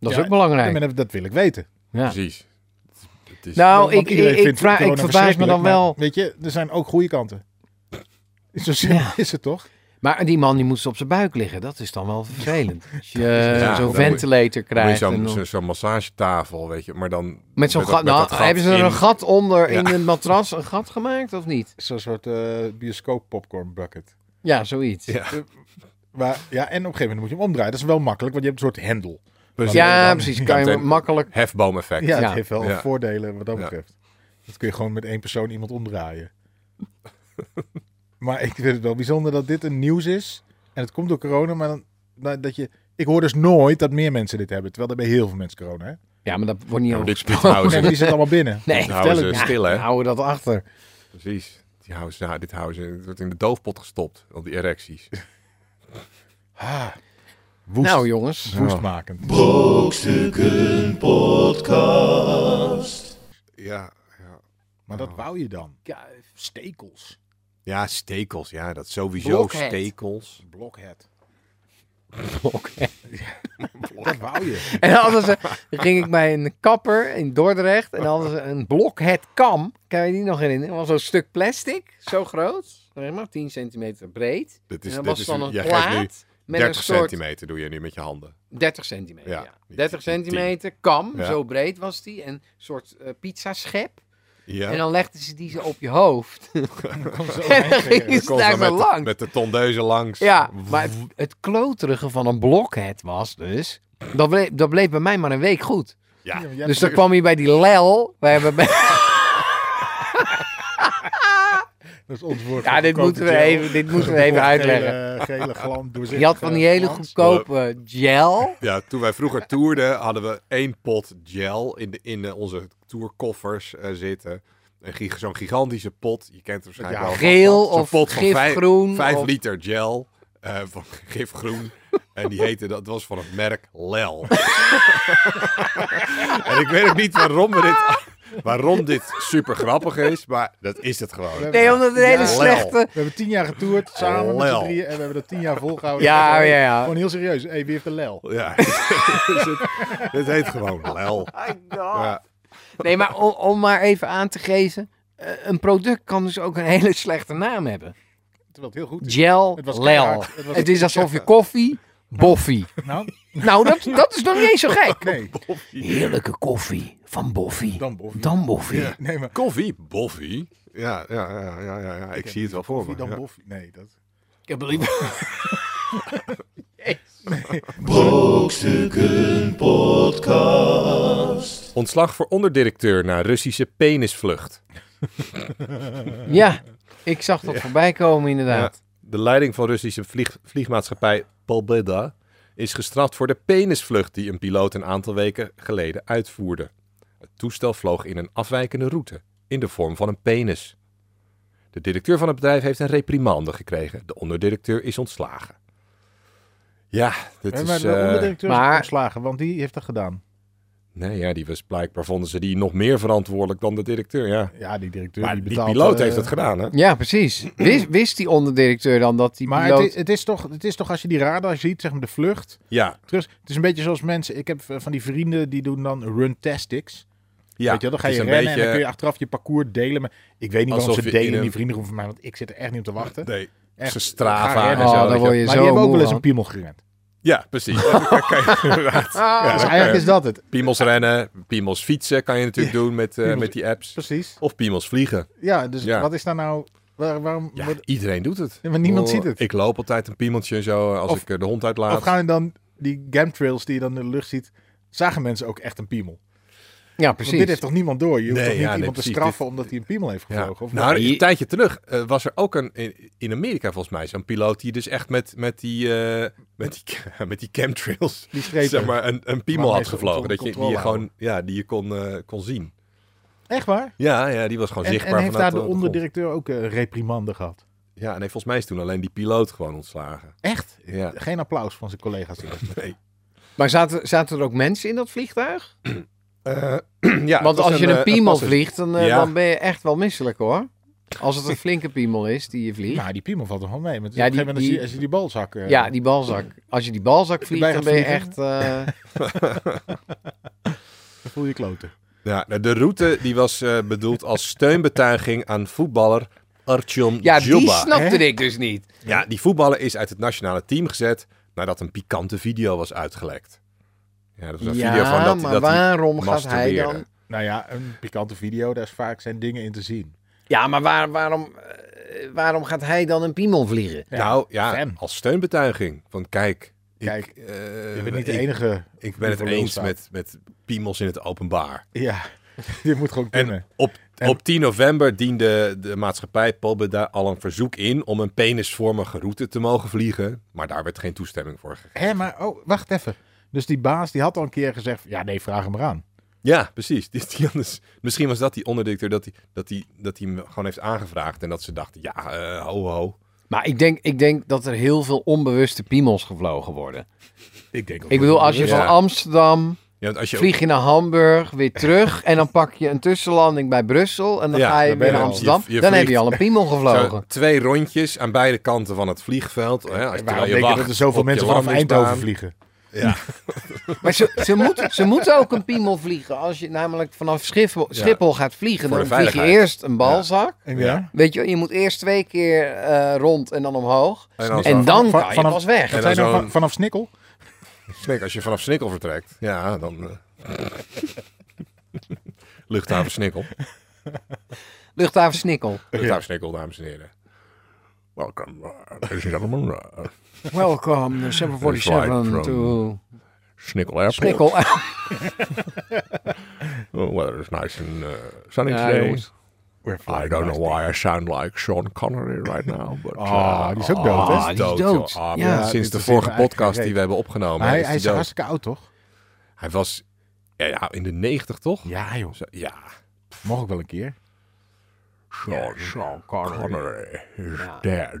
D: Dat is
C: ja,
D: ook belangrijk.
C: en dat wil ik weten.
D: Ja.
H: Precies. Het is,
D: Nou,
C: Want
D: ik,
C: iedereen
D: ik, ik,
C: vindt
D: vraag, ik
C: corona
D: verbaas me
C: verschrikkelijk,
D: dan
C: maar
D: wel.
C: Nou, Weet je, er zijn ook goede kanten. Zo simpel
D: Ja.
C: is het toch?
D: Maar die man die moest op zijn buik liggen. Dat is dan wel vervelend. Als je eh,
H: Ja,
D: zo'n
H: dan
D: ventilator
H: dan moet je
D: krijgt. en
H: zo'n
D: dan-
H: zo, zo'n massagetafel, weet je. Maar dan
D: met zo'n
H: met
D: gat.
H: dat- met
D: Nou,
H: dat gat
D: hebben ze er
H: in-
D: een gat onder in
H: Ja.
D: het matras? Een gat gemaakt of niet?
C: Zo'n soort eh, bioscoop popcorn bucket.
D: Ja, zoiets.
H: Ja.
C: Maar, ja, en op een gegeven moment moet je hem omdraaien. Dat is wel makkelijk, want je hebt een soort hendel.
H: precies,
D: Ja,
C: dan-
D: precies. Kan je
H: meteen-
D: makkelijk.
H: hefboom effect.
C: Ja, het
D: Ja.
C: heeft wel
H: Ja.
C: voordelen wat dat
H: Ja.
C: betreft. Dat kun je gewoon met één persoon iemand omdraaien. maar ik vind het wel bijzonder dat dit een nieuws is. En het komt door corona, maar dan, nou, dat je... Ik hoor dus nooit dat meer mensen dit hebben. Terwijl er bij heel veel mensen corona, hè?
D: Ja, maar dat wordt niet
H: Ja, maar
D: over
H: dit- dit
D: gesproken.
C: Nee,
H: houden ze-
C: maar die zitten allemaal binnen.
D: Nee,
H: dit houden
D: vertel
H: ze
D: het.
H: stil, hè?
D: Ja, houden dat achter.
H: Precies. Die houden ze, ja, dit houden ze. Het wordt in de doofpot gestopt, al die erecties.
C: Ah, woest,
D: Nou, jongens.
C: woestmakend.
B: Brokstukken Podcast.
H: Ja, ja.
C: Maar dat wou je dan. Stekels.
H: Ja, stekels. Ja, dat sowieso
D: Blokhead.
H: stekels.
C: Blockhead.
D: Oké.
C: Dat wou je.
D: En anders ging ik bij een kapper in Dordrecht. En anders een blokhead kam. Kan je die nog herinneren? Dat was zo'n stuk plastic. Zo groot. Zeg maar 10 centimeter breed.
H: Dit
D: En
H: is,
D: dat
H: dit
D: was
H: is,
D: dan een
H: jij geeft nu
D: plaat met
H: 30
D: een soort
H: centimeter doe je nu met je handen.
D: 30 centimeter.
H: Ja,
D: Ja,
H: niet
D: 30
H: tien.
D: centimeter kam,
H: Ja.
D: zo breed was die. En een soort eh, pizzaschep.
H: Ja.
D: En dan legden ze die zo op je hoofd. En dan ging
C: Zo
D: je
H: Komt
D: daar
H: dan
D: zo
H: met, de,
D: lang.
H: met de tondeuzen langs.
D: Ja, maar het, het kloterige van een blokhead was dus... Dat bleef, dat bleef bij mij maar een week goed.
H: Ja.
C: Ja,
D: dus dan kwam je bij die lel. Wij hebben bij-
C: Dat is ons woord.
D: ja,
C: voor
D: dit
C: goedkope
D: moeten we
C: gel.
D: even, dit moeten we even
C: Gele-
D: uitleggen.
C: Gele glam, doorzichtige
D: Je had van die hele
C: glans.
D: goedkope gel.
H: Ja, toen wij vroeger toerden, hadden we één pot gel in, de, in eh, onze tourkoffers eh, zitten. Een gig- Zo'n gigantische pot, je kent het waarschijnlijk
C: Ja,
H: wel.
D: Geel
H: Zo'n
D: of
H: pot van vijf-
D: gifgroen.
H: Vijf
D: of-
H: liter gel eh, van gifgroen. En die heette, dat was van het merk Lel. en ik weet ook niet waarom, we dit, waarom dit super grappig is, maar dat is het gewoon.
D: Nee, omdat het een hele
C: Ja,
H: lel.
D: slechte...
C: We hebben tien jaar getoerd samen met
H: Oh, Lel.
C: z'n drieën en we hebben dat tien jaar
H: Oh,
C: volgehouden.
D: Ja,
C: Gewoon-
D: ja, ja.
C: Gewoon heel serieus. Hé, wie heeft de lel?
H: Ja, dus het, het heet gewoon Lel.
D: Oh My God.
H: Ja.
D: Nee, maar om, om maar even aan te geven. eh, Een product kan dus ook een hele slechte naam hebben.
C: Terwijl het heel goed is.
D: Gel,
C: Het was
D: lel.
C: keihard. Het was-
D: Het is alsof je koffie, boffie.
C: Nou,
D: Nou, dat, dat is nog niet eens zo gek.
C: nee.
D: Heerlijke koffie van boffie.
C: Dan boffie.
D: Dan boffie. Ja.
C: Nee, maar
H: Koffie, boffie. Ja, ja, ja, ja, ja, ja. Ik, zie het wel voor me.
C: wie dan
H: ja.
C: boffie? Nee, dat...
D: Ik heb liever-
B: Brokstukken Podcast.
H: Ontslag voor onderdirecteur na Russische penisvlucht.
D: Ja, ik zag dat voorbij komen inderdaad.
H: De leiding van Russische vlieg- vliegmaatschappij Pobeda is gestraft voor de penisvlucht die een piloot een aantal weken geleden uitvoerde. Het toestel vloog in een afwijkende route, in de vorm van een penis. De directeur van het bedrijf heeft een reprimande gekregen. De onderdirecteur is ontslagen. Ja, dit
C: Eh,
H: is...
C: maar de
H: eh,
C: onderdirecteur is
D: maar-
C: ontslagen, want die heeft dat gedaan.
H: Nee, ja, die was blijkbaar vonden ze die nog meer verantwoordelijk dan de directeur. Ja.
C: Ja, die directeur
H: Maar
C: die
H: die,
C: betaalt...
H: piloot
C: eh,
H: heeft dat gedaan, hè?
D: Ja, precies. Wist, wist die onderdirecteur dan dat die
C: Maar
D: piloot...
C: het, is, het, is toch, het is toch als je die radar ziet, zeg maar de vlucht.
H: Ja,
C: Terug, het is een beetje zoals mensen... Ik heb eh, van die vrienden die doen dan runtastics.
H: ja.
C: weet je, wel, dan ga
H: Het
C: je
H: is een
C: rennen en
H: beetje-
C: dan kun je achteraf je parcours delen. Maar ik weet niet waarom
H: Alsof
C: ze
H: je in
C: delen,
H: een-
C: die vrienden groepen van mij, want ik zit er echt niet op te wachten.
H: Nee,
C: Echt,
H: ze
C: ga
H: Strava en
C: rennen.
H: zo.
D: Oh,
H: weet
D: dan
H: je.
D: word je
C: Maar
D: zo
C: die hebben ook wel
D: moe
C: eens een
D: van.
C: piemel gerend.
H: Ja, precies. Daar kan je
D: Ah.
H: inderdaad- ja,
C: dus
H: daar
C: eigenlijk
H: kan
C: is
H: je-
C: dat het.
H: Piemels rennen, piemels fietsen kan je natuurlijk doen met, eh,
C: piemels-
H: met die apps.
C: Precies.
H: Of piemels vliegen.
C: Ja, dus
H: Ja.
C: wat is daar nou... waar- waarom...
H: Ja,
C: wordt-
H: iedereen doet het.
C: Ja, maar niemand ziet het.
H: Ik loop altijd een piemeltje en zo eh, als
C: Of-
H: ik eh, de hond
C: Of
H: uitlaat.
C: gaan er dan die gamtrails die je dan in de lucht ziet, zagen mensen ook echt een piemel?
D: Ja,
C: Want dit
D: precies.
C: heeft toch niemand door? Je hoeft toch
H: Nee,
C: niet
H: ja, nee,
C: iemand te
H: precies.
C: straffen
H: Dit-
C: omdat hij een piemel heeft
H: Ja.
C: gevlogen? Of
H: nou,
C: wel?
H: een tijdje terug eh, was er ook een, in, in Amerika volgens mij, zo'n piloot die dus echt met, met, die, eh, met, die, met die chemtrails,
C: die strepen.
H: zeg maar, een, een piemel
C: Waarmee
H: had
C: ze
H: gevlogen.
C: onder
H: Dat je, die je
C: controle
H: gewoon, ja, die je kon, eh, kon zien.
C: Echt waar?
H: Ja, ja, die was gewoon
C: En,
H: zichtbaar.
C: en heeft
H: vanuit
C: daar de
H: eh, grond.
C: onderdirecteur ook eh, reprimande gehad?
H: Ja, nee, volgens mij is toen alleen die piloot gewoon ontslagen.
C: Echt?
H: Ja.
C: Geen applaus van zijn collega's.
D: Maar zaten, zaten er ook mensen in dat vliegtuig?
H: Eh, ja,
D: Want als je een piemel
H: vliegt
D: vliegt, dan, eh,
H: eh, Ja.
D: dan ben je echt wel misselijk hoor. Als het een flinke piemel is die je vliegt.
C: Nou, die piemel valt er gewoon mee. Want
D: Ja,
C: op een
D: die-
C: gegeven moment als je-
D: die-
C: als je die balzak... eh,
D: Ja, die balzak. Als je die balzak vliegt,
C: Bij
D: dan
C: gaat
D: ben je
C: vliegen?
D: echt... eh,
C: dan voel je kloten.
H: Ja, nou, de route die was eh, bedoeld als steunbetuiging aan voetballer Artyom
D: Ja, die
H: Djuba.
D: snapte
C: hè?
D: ik dus niet.
H: Ja, die voetballer is uit het nationale team gezet nadat een pikante video was uitgelekt. Ja, dat was een video van dat,
D: maar
H: dat hij
D: waarom gaat hij
H: masturbeerde.
D: dan...
C: Nou ja, een pikante video, daar is vaak zijn dingen in te zien.
D: Ja, maar waar, waarom, eh, waarom gaat hij dan een piemel vliegen?
C: Ja,
H: nou ja,
C: fan.
H: als steunbetuiging. Van kijk,
C: Kijk,
H: ik, eh,
C: Je bent niet de
H: ik-
C: enige.
H: ik ben het
C: voor lul
H: eens
C: staat.
H: met, met piemels in het openbaar.
C: Ja, je moet gewoon kunnen.
H: En op,
C: En-
H: op 10 november diende de maatschappij Pobeda al een verzoek in om een penisvormige route te mogen vliegen. Maar daar werd geen toestemming voor gegeven.
C: Hé, maar oh, wacht even. Dus die baas die had al een keer gezegd, ja nee, vraag hem maar aan.
H: Ja, precies. Die, die anders, misschien was dat die onderdirecteur dat hij dat die, dat die hem gewoon heeft aangevraagd. En dat ze dachten, ja, eh, ho ho.
D: Maar ik denk, ik denk dat er heel veel onbewuste piemels gevlogen worden.
C: Ik denk ook
D: Ik bedoel, als je
H: Ja.
D: van Amsterdam
H: Ja, want als je
D: vlieg je naar Hamburg, weer terug. En dan pak je een tussenlanding bij Brussel. En dan
H: Ja,
D: ga je
C: ben
H: dan
D: weer
C: je
D: naar
C: al.
D: Amsterdam.
H: Je- je
D: dan heb
H: vliegt.
D: je al een piemel
H: zo
D: gevlogen.
H: twee rondjes aan beide kanten van het vliegveld. Hè, als, terwijl
C: Waarom
H: je
C: denk je
H: wacht
C: dat er zoveel
H: op je
C: mensen vanaf
H: landingsbaan.
C: Eindhoven vliegen?
H: Ja,
D: Maar ze, ze, moet, ze moeten ook een piemel vliegen. Als je namelijk vanaf Schiphol, Schiphol gaat vliegen,
H: Voor
D: dan
H: de
D: vlieg je
H: veiligheid.
D: eerst een balzak.
C: Ja.
D: Weet je, wel, je moet eerst twee keer eh, rond en dan omhoog.
H: en dan,
D: en dan
C: van-
D: kan je
C: vanaf-
D: pas weg.
H: En
C: Zijn
H: dan
C: er
H: zo'n-
C: van- vanaf Snikkel?
H: Kijk, als je vanaf Snikkel vertrekt, ja, dan... eh, Luchthaven Snikkel.
D: Luchthaven Snikkel.
H: Luchthaven Snikkel, dames en heren. Welkom, ladies and gentlemen. eh,
D: Welcome 747
H: Flight
D: to
H: from- Snikkel Airport.
D: Snikkel.
H: Oh, weather is nice and uh, sunny
D: Ja,
H: today.
D: jongens.
H: I don't know why I sound like Sean Connery right now. But,
C: Ah,
H: uh,
C: die is ook dood, hè?
H: ah,
D: Ah, die is
H: joh.
D: dood.
H: Ah,
D: Ja.
H: man,
C: Dit
H: sinds
C: is
H: de
C: helemaal
H: vorige podcast
C: eigenlijk
H: die we hebben opgenomen.
C: Maar hij,
H: is
C: hij
H: hij,
C: is
H: dood.
C: hartstikke oud, toch?
H: Hij was ja, ja, in de negentig, toch?
C: Ja, joh.
H: Zo- ja.
C: Mocht ik wel een keer.
H: Sean, Sean Connery is dead.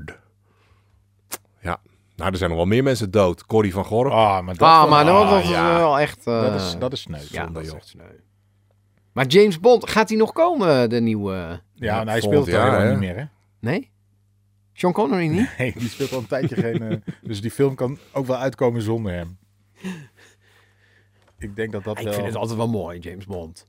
H: Ja, nou, er zijn nog wel meer mensen dood. Corrie van Gorp.
C: Ah, maar dat,
D: Ah, maar dat was
H: ja.
D: wel echt... eh,
C: dat is, dat is sneu.
D: ja,
C: Ja,
D: dat is
H: joh.
D: echt sneu. Maar James Bond, gaat hij nog komen, de nieuwe...
C: ja en hij
H: Volgend
C: speelt daar
H: jaar,
C: helemaal
H: hè?
C: niet meer, hè?
D: Nee? Sean Connery niet?
C: Nee, die speelt al een tijdje geen... eh, dus die film kan ook wel uitkomen zonder hem. Ik denk dat dat wel...
D: Ik vind het altijd wel mooi, James Bond.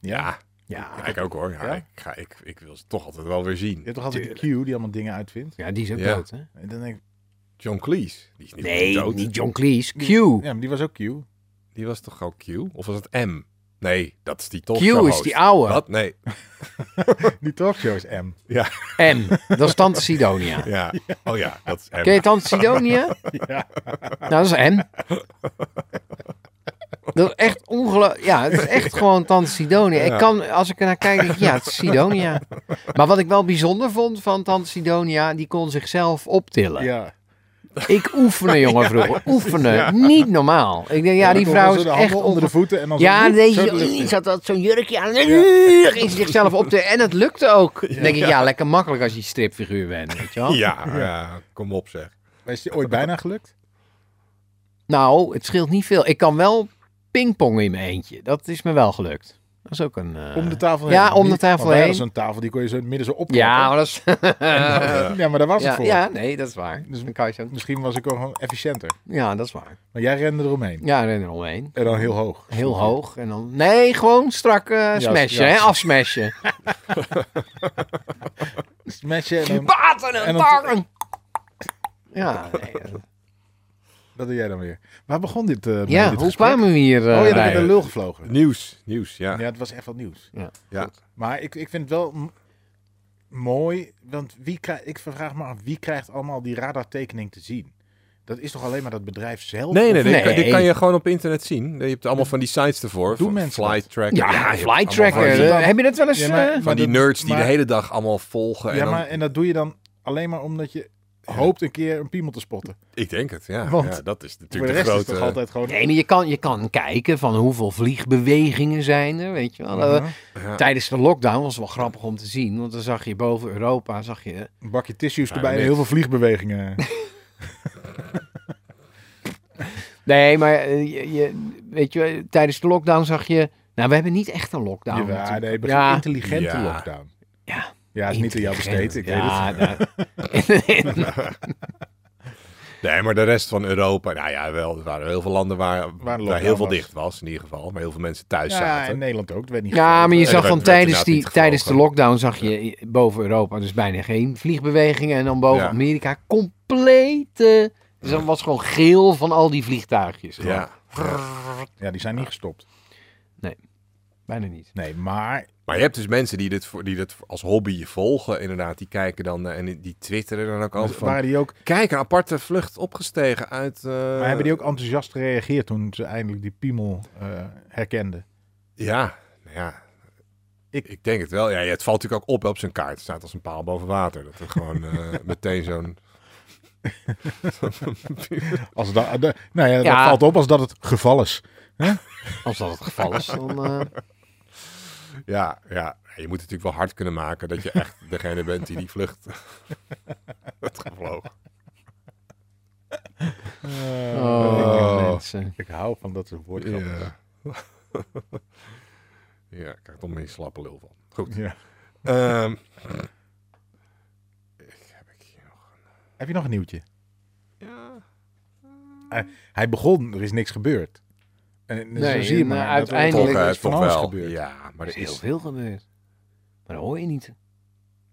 C: Ja,
H: Ja,
D: Ja,
H: ik ook hoor. Ja,
C: Ja?
H: Ik, ga, ik, ik wil ze toch altijd wel weer zien.
C: je hebt toch altijd die Q die allemaal dingen uitvindt?
D: ja die is ook
H: Ja.
D: dood, hè?
C: En dan denk ik,
H: John Cleese. Die is niet
D: Nee,
H: dood.
D: niet John Cleese. Q.
C: ja, maar die was ook Q.
H: Die was toch al Q? Of was het M? Nee, dat is die toch.
D: Q is die oude.
H: Wat? Nee.
C: Die talkshow is M.
D: M, dat is Tante Sidonia.
H: Ja. Oh ja, dat is M.
D: Ken je Tante Sidonia?
C: Ja.
D: Nou, dat is M. Dat is echt ongelooflijk. Ja, het is echt gewoon Tante Sidonia. Ik
H: Ja.
D: kan, als ik ernaar kijk, denk ik, ja, het is Sidonia. Maar wat ik wel bijzonder vond van Tante Sidonia, die kon zichzelf optillen.
C: Ja.
D: Ik oefenen, jongen, vroeger. Oefenen. Niet normaal. Ik denk, ja, die
C: dan
D: vrouw
C: kon
D: is
C: ze de handen
D: echt
C: onder de voeten en dan
D: Ja,
C: zo,
D: nee,
C: zo de
D: zo,
C: lucht in.
D: zat dat zo'n jurkje aan. Ging ze zichzelf op te... En het lukte ook. Dan denk ik, ja, lekker makkelijk als je stripfiguur bent, weet je wel.
H: Ja, ja, kom op zeg.
C: Maar Is die ooit bijna gelukt?
D: Nou, het scheelt niet veel. Ik kan wel pingpongen in mijn eentje. Dat is me wel gelukt. Dat is ook een... eh,
C: Om de tafel heen.
D: Ja, om de
C: Niet-
D: tafel
C: want wij hadden
D: heen.
C: Zo'n tafel die kon je zo in het midden zo opklappen.
D: Ja, maar dat is... Eh,
H: Ja.
C: ja, maar daar was het
D: ja,
C: voor.
D: ja, nee, dat is waar.
C: Dus-
D: Dan kan je zo...
C: Misschien was ik ook gewoon efficiënter.
D: Ja, dat is waar.
C: Maar jij rende eromheen.
D: Ja, ren er omheen.
C: En dan heel hoog.
D: Heel hoog en dan... Nee, gewoon strak eh smashen,
C: ja.
D: hè. Afsmashen.
H: Dus
C: Smashen en dan...
D: Baten
C: En
D: en
C: dan-
D: barren! Ja, nee, eh,
C: Dat doe jij dan weer. Waar begon dit? eh, mee,
D: ja
C: dit
D: hoe
C: gesprek?
D: kwamen we hier?
C: Oh
D: eh,
C: ja, daar
D: bij?
C: werd een lul gevlogen.
H: Nieuws, nieuws, ja.
C: Ja, het was echt wat nieuws.
H: ja.
C: Maar ik, ik vind het wel m- mooi, want wie krijgt, ik vraag me af, wie krijgt allemaal die radartekening te zien? Dat is toch alleen maar dat bedrijf zelf?
H: Nee, nee, nee.
D: Nee.
H: Dit kan je gewoon op internet zien. Je hebt allemaal van die sites ervoor.
C: Doen
H: van
C: mensen
H: flight
C: dat?
H: tracker.
D: Ja,
H: je hebt allemaal
D: flight tracker.
H: Van die,
C: je dan-
D: eh, heb je dat wel eens?
C: Ja, maar-
D: eh?
H: van die
C: dat-
H: nerds die
C: maar-
H: de hele dag allemaal volgen. en
C: Ja,
H: dan-
C: maar en dat doe je dan alleen maar omdat je hoopt een keer een piemel te spotten.
H: Ik denk het, ja.
C: Want
H: ja dat is
C: Voor
H: natuurlijk
C: de
H: de,
C: rest is
H: grote...
C: toch altijd gewoon...
D: Nee, maar je kan, je kan kijken van hoeveel vliegbewegingen zijn er, weet je wel. Eh,
C: Uh-huh.
H: Ja.
D: Tijdens de lockdown was het wel grappig om te zien, want dan zag je boven Europa, zag je...
C: Een bakje tissues
H: Ja,
C: erbij en
H: niks.
C: heel veel vliegbewegingen.
D: Nee, maar eh, je, je- weet je, wel, tijdens de lockdown zag je... Nou, we hebben niet echt een lockdown.
C: ja,
D: natuurlijk.
C: nee, maar
D: ja,
C: intelligente
H: Ja.
C: lockdown.
D: Ja.
C: Ja, is niet aan jou besteed, ik weet het.
D: ja, nou,
H: Nee, maar de rest van Europa... Nou ja, wel, er waren heel veel landen waar, waar,
C: lockdown
H: heel veel
C: was.
H: dicht was. In ieder geval. Maar heel veel mensen thuis
C: Ja,
H: zaten.
C: in Nederland ook, dat werd niet Eh,
D: ja, maar je
H: werd-
D: zag
H: werd
D: van
H: inderdaad
D: tijdens,
H: niet
D: die,
H: gevlogen.
D: tijdens de lockdown zag je boven Europa dus bijna geen vliegbewegingen. En dan boven
H: Ja.
D: Amerika complete... Dus dan was gewoon geel van al die vliegtuigjes. Gewoon.
H: Ja.
C: Ja, die zijn niet gestopt.
D: Bijna niet.
C: Nee, maar
H: Maar je hebt dus mensen die dit, voor, die dit als hobby volgen, inderdaad. Die kijken dan eh, en die- die twitteren dan ook altijd
C: dus
H: van... Eh.
C: waren die ook,
H: Kijk, een aparte vlucht opgestegen uit... eh,
C: maar hebben die ook enthousiast gereageerd toen ze eindelijk die piemel eh, herkenden?
H: Ja, nou ja.
C: Ik-
H: Ik, ik denk het wel. Ja, ja, het valt natuurlijk ook op hè, op zijn kaart. Het staat als een paal boven water. Dat er gewoon eh, meteen zo'n...
C: Als dat, eh, de- nou ja, dat
D: Ja.
C: valt op als dat het geval is.
D: Als dat het geval is, dan... eh,
H: Ja, ja. Je moet het natuurlijk wel hard kunnen maken dat je echt degene bent die die vlucht heeft gevlogen.
D: oh, mensen.
C: Ik hou van dat soort woordgrappen.
H: Ja. ja, ik krijg toch meer slappe lul van. Goed.
C: Ja.
H: Ehm, ik heb ik hier nog...
C: Heb je nog een nieuwtje? Eh,
H: Ja.
C: Hij begon, er is niks gebeurd. En, en zo
D: Nee,
C: zie je
D: en,
C: maar.
D: eh,
C: dat er
D: uiteindelijk-
H: Toch,
C: toch,
H: eh,
C: eh, van
H: toch
C: alles
H: wel.
C: gebeurd.
H: Ja, maar
D: Er is
H: er
D: heel
H: is...
D: veel gebeurd. Maar dat hoor je niet.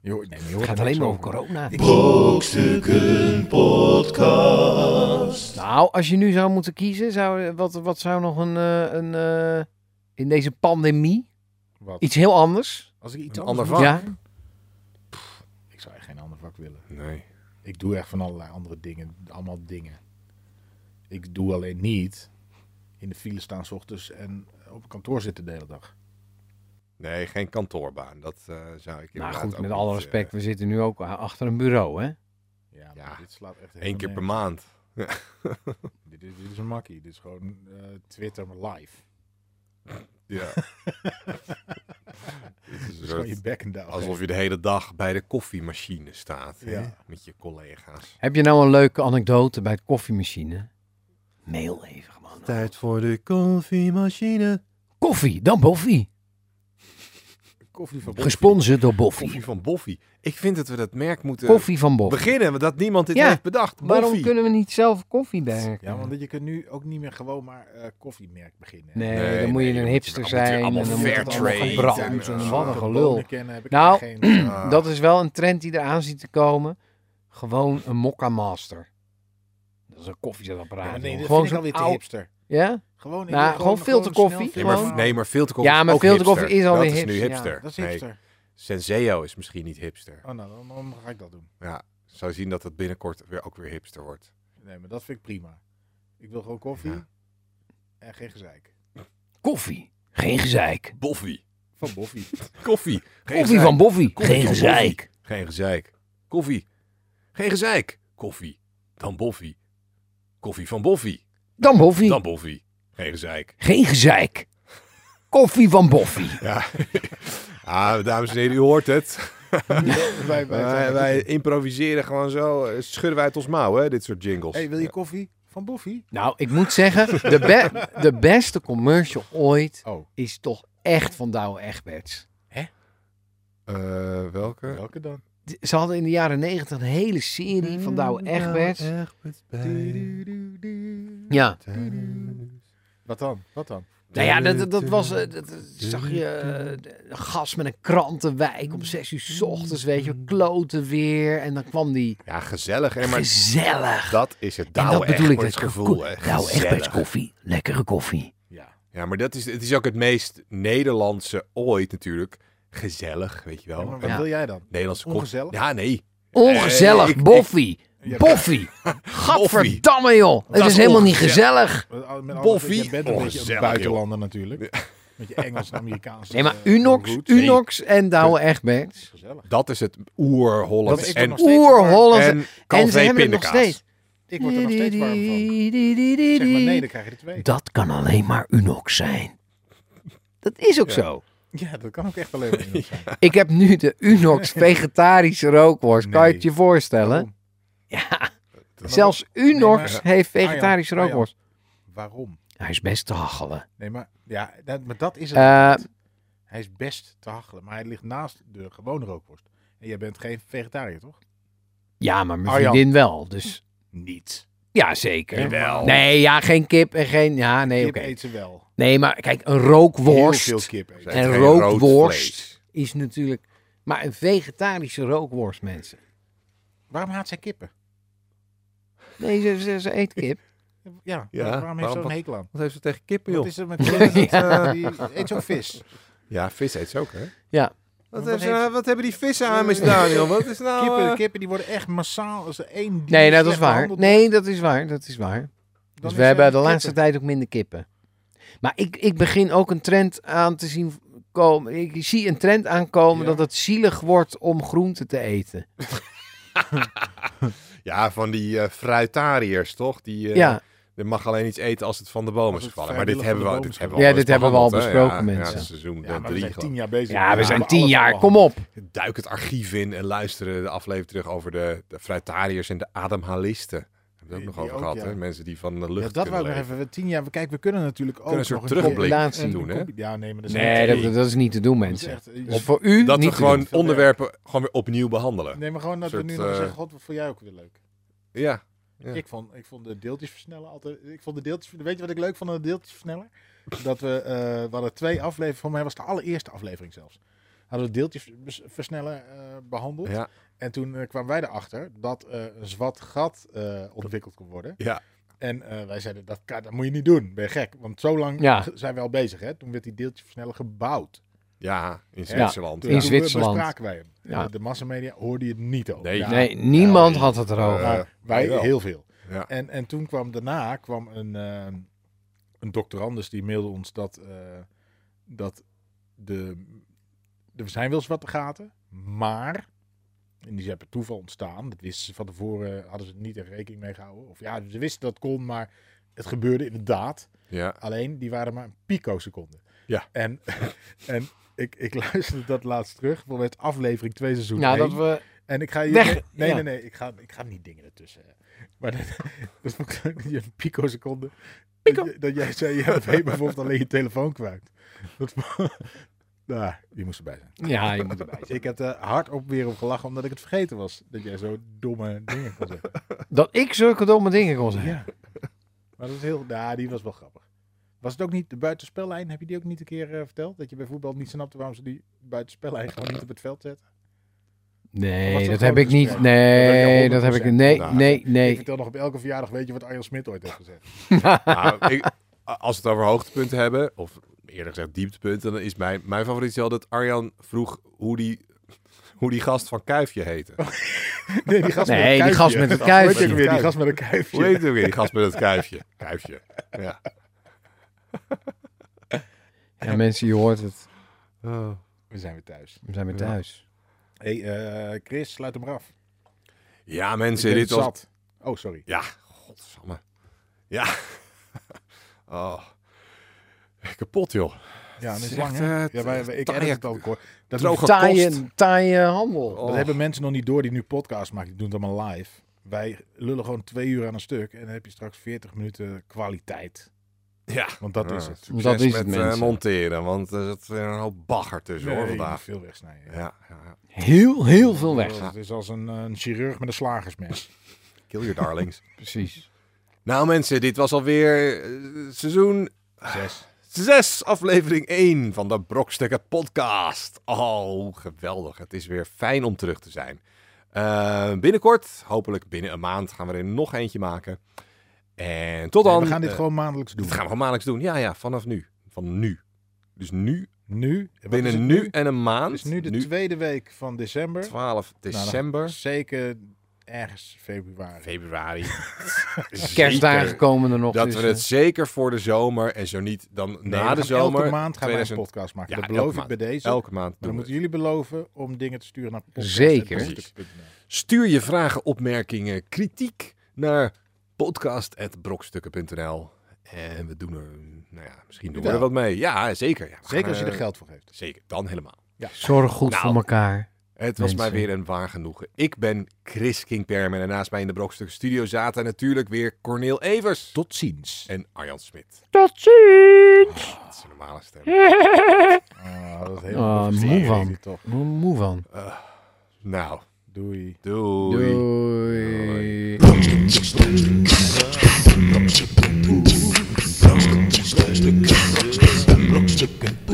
C: Je hoort- nee, maar je hoort
D: Het gaat
C: er
D: alleen
C: niks
D: maar over corona.
B: Brokstukken Podcast.
D: Nou, als je nu zou moeten kiezen, zou, wat, wat zou nog een, eh, een eh, in deze pandemie
C: Wat?
D: iets heel anders?
C: Als ik iets
H: Een
C: anders
H: ander
C: doe-
D: Ja,
C: Ik zou echt geen ander vak willen.
H: Nee.
C: Ik doe echt van allerlei andere dingen. Allemaal dingen. Ik doe alleen niet in de file staan s ochtends en op een kantoor zitten de hele dag.
H: Nee, geen kantoorbaan. Dat eh, zou ik
D: nou
H: inderdaad
D: goed,
H: ook
D: met
H: niet,
D: alle
H: eh,
D: respect, we zitten nu ook a- achter een bureau, hè?
C: Ja, maar
H: Ja,
C: dit slaat echt helemaal
H: Eén keer per
C: nergens.
H: maand.
C: Dit is, dit is een makkie. Dit is gewoon eh, Twitter maar live.
H: Ja. Het is een
C: Dus gewoon
H: soort-
C: je bek en down.
H: alsof je de hele dag bij de koffiemachine staat. hè,
C: Ja.
H: Met je collega's.
D: Heb je nou een leuke anekdote bij het koffiemachine? Mail even, man.
H: Tijd voor de koffiemachine.
D: Koffie, dan Boffie.
C: koffie van
D: Gesponsord door Boffie.
H: Koffie van Boffie. Ik vind dat we dat merk moeten
D: Koffie van Boffie.
H: beginnen. want Dat niemand dit
D: Ja,
H: heeft bedacht.
D: Waarom
H: Boffie.
D: kunnen we niet zelf koffie bij?
C: Ja, want je kunt nu ook niet meer gewoon maar eh, koffiemerk beginnen. hè?
D: Nee,
H: Nee,
D: dan moet
H: nee,
D: je
H: dan
D: een
H: moet je-
D: hipster
H: dan moet je
D: zijn.
H: allemaal
D: en dan
C: moet
H: fair
D: moet het allemaal
H: trade
D: gebrand
H: en,
D: en
H: eh,
D: wat een gelul.
C: Kennen, heb ik
D: Nou,
C: geen,
H: Ah.
D: Dat is wel een trend die eraan ziet te komen. Gewoon een mokka master. Dat is een
C: Ja,
D: koffiezetapparaat.
C: maar nee,
D: jongen.
C: dat
D: gewoon
C: vind ik alweer
D: zo'n
C: te
D: oud-
C: hipster.
D: Ja?
C: Gewoon, ik
D: Nou,
C: wil
D: gewoon filterkoffie,
C: snel
H: Nee,
C: filter-
H: maar,
D: gewoon.
H: nee, maar filterkoffie
D: Ja,
H: is
D: maar
H: ook
D: filterkoffie
H: hipster.
D: is alweer
H: Dat is nu
D: hipster, ja.
H: hipster.
C: Dat is
H: Nee,
C: hipster.
H: Senseo is misschien niet hipster.
C: Oh, nou, dan, dan ga ik dat doen.
H: Ja, zou zien dat het binnenkort weer ook weer hipster wordt.
C: Nee, maar dat vind ik prima. Ik wil gewoon koffie
H: Ja.
C: en geen gezeik.
D: Koffie. Geen gezeik.
H: Boffie.
C: Van Boffy.
H: Koffie. Geen
D: Koffie
H: gezeik.
D: van Boffie.
H: Koffie
D: Geen
H: van
D: gezeik.
H: Boffie. Geen gezeik. Koffie. Geen gezeik. Koffie. Dan Boffie. Koffie van Boffie.
D: Dan Boffie.
H: Dan Boffie. Geen gezeik.
D: Geen gezeik. Koffie van Boffie.
H: Ja. Ah, dames en heren, u hoort het.
C: wij, wij,
H: Wij, wij improviseren gewoon zo. eh, Schudden wij het ons mouw, hè, dit soort jingles.
C: hey, wil je
H: Ja.
C: koffie? Van Boffy?
D: Nou, ik moet zeggen, de, be- de beste commercial ooit
C: Oh,
D: is toch echt van Douwe Egberts.
H: Eh, welke?
C: welke dan?
D: D- Ze hadden in de jaren negentig een hele serie van Douwe
H: Mm,
D: Egberts. Ja.
C: Wat dan? Wat dan?
D: Nou ja, dat, dat- dat was. eh, Dat, dat zag je. eh, een gast met een krantenwijk om zes uur 's ochtends, weet je. Kloten weer. En dan kwam die.
H: Ja, gezellig. Hè, maar
D: Gezellig.
H: dat is het
D: en
H: Douwe
D: dat bedoel ik.
H: Egberts
D: Dat
H: gevoel. hè.
D: Nou, Egberts
H: Gezellig.
D: koffie. Lekkere koffie.
C: Ja.
H: Ja, maar dat is, het is ook het meest Nederlandse ooit natuurlijk. Gezellig, weet je wel.
C: maar wat
H: Een
D: Ja.
C: wil jij dan?
H: Nederlandse kop.
C: Ongezellig?
H: Ja, nee.
D: Ongezellig,
H: ik- ik-
D: Boffie.
C: Ja,
D: Boffy. Gadverdamme, joh. Het
H: Dat
D: is,
H: is
D: helemaal niet
H: ongezellig.
D: gezellig.
C: Met al- met alle-
H: Boffie.
C: Je bent een
H: Oh,
C: beetje een
H: gezellig,
C: buitenlander natuurlijk. Met je Engels en Amerikaans.
D: Nee, maar
C: eh,
D: Unox,
C: goed.
D: Unox en Douwe Egberts.
C: Gezellig.
H: Dat is het oer-Hollands.
C: Dat is
H: en,
C: nog steeds
D: Oer-Hollandse.
H: en Calvé pindakaas.
C: Ik word er nog steeds warm van. Zeg maar nee, dan krijg je er twee.
D: Dat kan alleen maar Unox zijn. Dat is ook zo.
C: Ja, dat kan ook echt alleen maar Unox zijn.
D: Ik heb nu de Unox vegetarische rookworst. Kan je het je voorstellen?
C: Waarom?
D: Ja,
C: Oh. Maar Ah,
D: zelfs Unox
C: maar-
D: heeft vegetarische
C: Arjan,
D: rookworst.
C: Waarom?
D: Hij is best te hachelen.
C: Nee, maar, ja, dat, maar dat is het.
D: Eh,
C: Hij is best te hachelen, maar hij ligt naast de gewone rookworst. En jij bent geen vegetariër, toch?
D: ja, maar mijn
C: Arjan.
D: vriendin wel. Dus
C: Niet.
D: ja, zeker.
H: Jawel.
D: Nee, ja, geen kip en geen... Ja, nee,
C: Kip
D: oké.
C: eet ze wel.
D: Nee, maar kijk, een
C: Heel
D: rookworst
C: veel kip eet ze.
H: Zij heeft
D: En
H: geen
D: rookworst.
H: rood vlees.
D: is natuurlijk... Maar een vegetarische rookworst, mensen.
C: Waarom haat zij kippen?
D: Nee, ze, ze, ze eet kip.
C: Ja,
H: Ja,
C: waarom, heeft ze
H: waarom-
C: zo'n hekel aan?
H: Wat heeft ze tegen kippen,
C: Wat
H: joh?
C: is er met kippen? Dat, eh, die eet zo'n vis.
H: Ja, vis eet ze ook, hè?
D: Ja.
H: Wat,
C: heeft ze-
H: hebben die vissen
C: aan misdaan,
H: Daniel? Wat is nou...
C: Kippen, kippen die worden echt massaal als er één dier
D: Oh. Nee, nou, dat is
C: slecht
D: waar.
C: behandeld wordt,
D: Nee, dat is waar. Dat is waar.
C: dan
D: Dus
C: is
D: we
C: zij
D: hebben de
C: kippen.
D: laatste tijd ook minder kippen. Maar ik, ik begin ook een trend aan te zien komen. Ik zie een trend aankomen
C: Ja.
D: dat het zielig wordt om groenten te eten.
H: Ja, van die eh fruitariërs, toch? Die, eh,
D: ja,
H: Je mag alleen iets eten als het van de boom
C: Als
H: is
C: het
H: gevallen. Maar dit
C: vrijwillig
H: hebben
C: van
H: we,
C: de
H: dit
C: boom
H: hebben
D: is
H: we
D: gevallen.
H: al
D: Ja,
H: eens
D: dit hebben we al
H: behandeld, hè?
D: besproken,
H: Ja,
D: mensen.
H: Ja, seizoen
C: Ja, maar we
H: drie.
C: zijn
H: gewoon.
C: tien jaar bezig.
D: ja we zijn
C: hebben
D: tien
C: alles
D: jaar.
C: behandeld.
D: Kom op.
H: Duik het archief in en luisteren de aflevering terug over de, de fruitariërs en de ademhalisten. Daar hebben we het
C: Die- die
H: ook nog over
C: ook,
H: gehad,
C: ja.
H: hè? Mensen die van de
C: Ja, dat
H: lucht kunnen
C: wou ik nog
H: leven.
C: even. we- Tien jaar, kijk, we kunnen natuurlijk ook
H: kunnen een
C: nog
H: soort
C: keer
H: terugblik
D: compilatie
H: doen, hè?
C: compi- Ja, nee, maar dat is
D: Nee,
C: echt-
D: dat, dat is niet te doen,
C: dat is
D: mensen.
C: echt- eh,
D: Dus voor u
H: Dat
D: niet
H: we
D: te
H: gewoon
D: doen.
C: doen.
H: onderwerpen gewoon weer opnieuw behandelen.
C: Nee, maar gewoon dat
H: soort,
C: we nu nog
H: eh,
C: eens zeggen, god, wat vond jij ook weer leuk?
H: Ja. Ja.
C: Ik, vond, ik vond de deeltjes versnellen altijd. Ik vond de deeltjes, weet je wat ik leuk vond aan de deeltjes versneller? Dat we, eh we hadden twee afleveringen, voor mij was het de allereerste aflevering zelfs. Hadden we deeltjes vers- versneller eh, behandeld.
H: Ja.
C: En toen eh, kwamen wij erachter dat eh, een zwart gat eh, ontwikkeld kon worden.
H: Ja.
C: En eh, wij zeiden, dat, kan- dat moet je niet doen, ben je gek. Want zo lang
D: Ja.
C: zijn we al bezig, hè? Toen werd die deeltjesversneller gebouwd.
H: ja, in
C: Ja.
H: Zwitserland.
C: Toen
D: In
C: toen
D: Zwitserland.
C: bespraken wij hem.
D: Ja.
C: Eh, De massamedia hoorde je het niet over.
H: Nee.
D: Nee, niemand
H: Ja,
D: had het erover.
H: eh,
C: Maar wij
H: jawel.
C: heel veel.
H: Ja.
C: En, en toen kwam daarna kwam een, eh, een doctorandus die mailde ons dat, eh, dat de, er zijn wel zwarte gaten, maar, en die zijn per toeval ontstaan, dat wisten ze van tevoren, hadden ze er niet in rekening mee gehouden. Of ja, ze wisten dat het kon, maar het gebeurde inderdaad.
H: Ja.
C: Alleen, die waren maar een picoseconde.
H: Ja.
C: En, en ik, ik luisterde dat laatst terug, voor het aflevering 2 seizoen
D: nou,
C: 1.
D: dat we...
C: En ik ga je.
D: Weg,
C: Nee, nee,
D: ja.
C: nee, nee, Ik ga, ik ga niet dingen ertussen. hè. Maar dat, dat vond ik leuk, dat je een pico-seconde. Dat, je- dat jij zei, ja, ben je bijvoorbeeld alleen je telefoon kwijt. Dat, nou, je moest erbij zijn.
D: Ja, je moet erbij zijn.
C: Ik heb er hard op weer op gelachen, omdat ik het vergeten was. Dat jij zo domme dingen kon zeggen.
D: Dat ik zulke domme dingen kon zeggen.
C: Ja. Maar dat is heel. Nou, die was wel grappig. Was het ook niet de buitenspellijn? Heb je die ook niet een keer eh, verteld? Dat je bij voetbal niet snapte waarom ze die buitenspellijn gewoon niet op het veld zetten? Was
D: Nee,
C: dat
D: dat
C: gewoon
D: heb ik niet.
C: gesprek?
D: Nee, dat
C: Dat
D: heb
C: heb
D: ik...
C: je
D: Nee,
H: 100%
D: nee,
C: Ik
D: nee.
C: vertel nog op elke verjaardag, weet je wat Arjan Smit ooit heeft gezegd?
H: Nou, ik- als we het over hoogtepunten hebben, of eerder gezegd dieptepunten, dan is mijn, mijn favoriet is wel dat Arjan vroeg hoe die, hoe die gast van Kuifje heette.
C: Oh, Nee, die gast
D: Nee,
C: met
D: die
C: een
D: gast met het
C: Weet je ook
D: kuifje.
C: weer, die
H: Kuifje.
C: gast met een
H: Hoe
C: kuifje.
H: heet het weer, die gast met het kuifje? Kuifje, ja.
D: Ja, mensen, je hoort het.
C: We zijn weer thuis.
D: We zijn weer thuis.
C: Hé, hey, eh, Chris, sluit hem maar af.
H: Ja,
C: Ik
H: mensen,
C: ben
H: dit was...
C: zat. Oh, sorry.
H: Ja, godsamme. Ja. Oh. Kapot, joh.
C: Ja, dat is
H: Zegt,
C: lang,
H: eh,
C: hè?
H: het-
C: Ja, maar ik
H: taaie-
C: edit het ook, hoor. Dat,
H: Droog
C: hoeft-
D: Taaie, taaie handel.
H: Oh.
C: dat hebben mensen nog niet door die nu podcast maken. Die doen het allemaal live. Wij lullen gewoon twee uur aan een stuk. En dan heb je straks 40 minuten kwaliteit.
H: Ja.
C: Want dat
H: Ja,
C: is het.
H: succes
D: Dat is
H: met,
D: het,
H: eh,
D: mensen.
H: monteren, want er zit weer een hoop bagger tussen,
C: Nee,
H: hoor,
C: je moet
H: vandaag.
C: veel wegsnijden.
H: Ja, ja.
D: Heel, heel veel weg.
C: Het is als een, eh, een chirurg met een slagersmes.
H: Kill your darlings.
D: Precies.
H: nou, mensen, dit was alweer eh, seizoen
C: Zes.
H: 6, aflevering 1 van de Brokstukken Podcast. Oh, geweldig. Het is weer fijn om terug te zijn. Eh, binnenkort, hopelijk binnen een maand, gaan we er nog eentje maken. En tot dan.
C: we gaan dit
H: eh,
C: gewoon maandelijks doen.
H: Dat gaan we gewoon maandelijks doen. Ja, ja, vanaf nu. Van nu. Dus nu,
C: Nu. Wat is het
H: binnen nu en een maand.
C: Het is nu de tweede week van december.
H: nu 12
C: Nou, dan
H: december.
C: Zeker ergens februari.
H: Februari.
D: Kerstdagen
H: Zeker.
D: komen er nog.
H: Dat
D: dus,
H: we het
D: eh,
H: zeker voor de zomer en zo niet, dan
C: Nee, we
H: na de
C: gaan
H: zomer.
C: Elke maand gaan wij
H: 2000
C: een podcast maken.
H: Ja,
C: dat
H: elke
C: beloof ik
H: maand.
C: bij deze.
H: elke maand
C: Maar dan
H: doen we
C: moeten
H: het.
C: jullie beloven om dingen te sturen naar podcast.
D: Zeker.
H: Stuur je vragen, opmerkingen, kritiek naar podcast.brokstukken.nl. En we doen er, nou ja, misschien doen we
C: Wel.
H: er wat mee. Ja, zeker. Ja, we
C: Zeker
H: gaan,
C: als je er
H: eh,
C: geld voor geeft.
H: Zeker, dan helemaal.
D: Zorg goed
H: Nou.
D: voor elkaar.
H: Het was mij
D: Mensen.
H: weer een waar genoegen. Ik ben Chris Kingpermen en naast mij in de Brokstukken studio zaten natuurlijk weer Corneel Evers
C: Tot ziens.
H: en Arjan Smit.
E: Tot ziens!
H: Dat is een normale stem.
C: Ah, dat is
D: Ah,
C: heel
D: moe
C: moe
D: van.
C: toch.
D: Moe- Moe van.
H: Nou,
C: Doei.
H: doei.
D: Doei.
B: Brokstukken.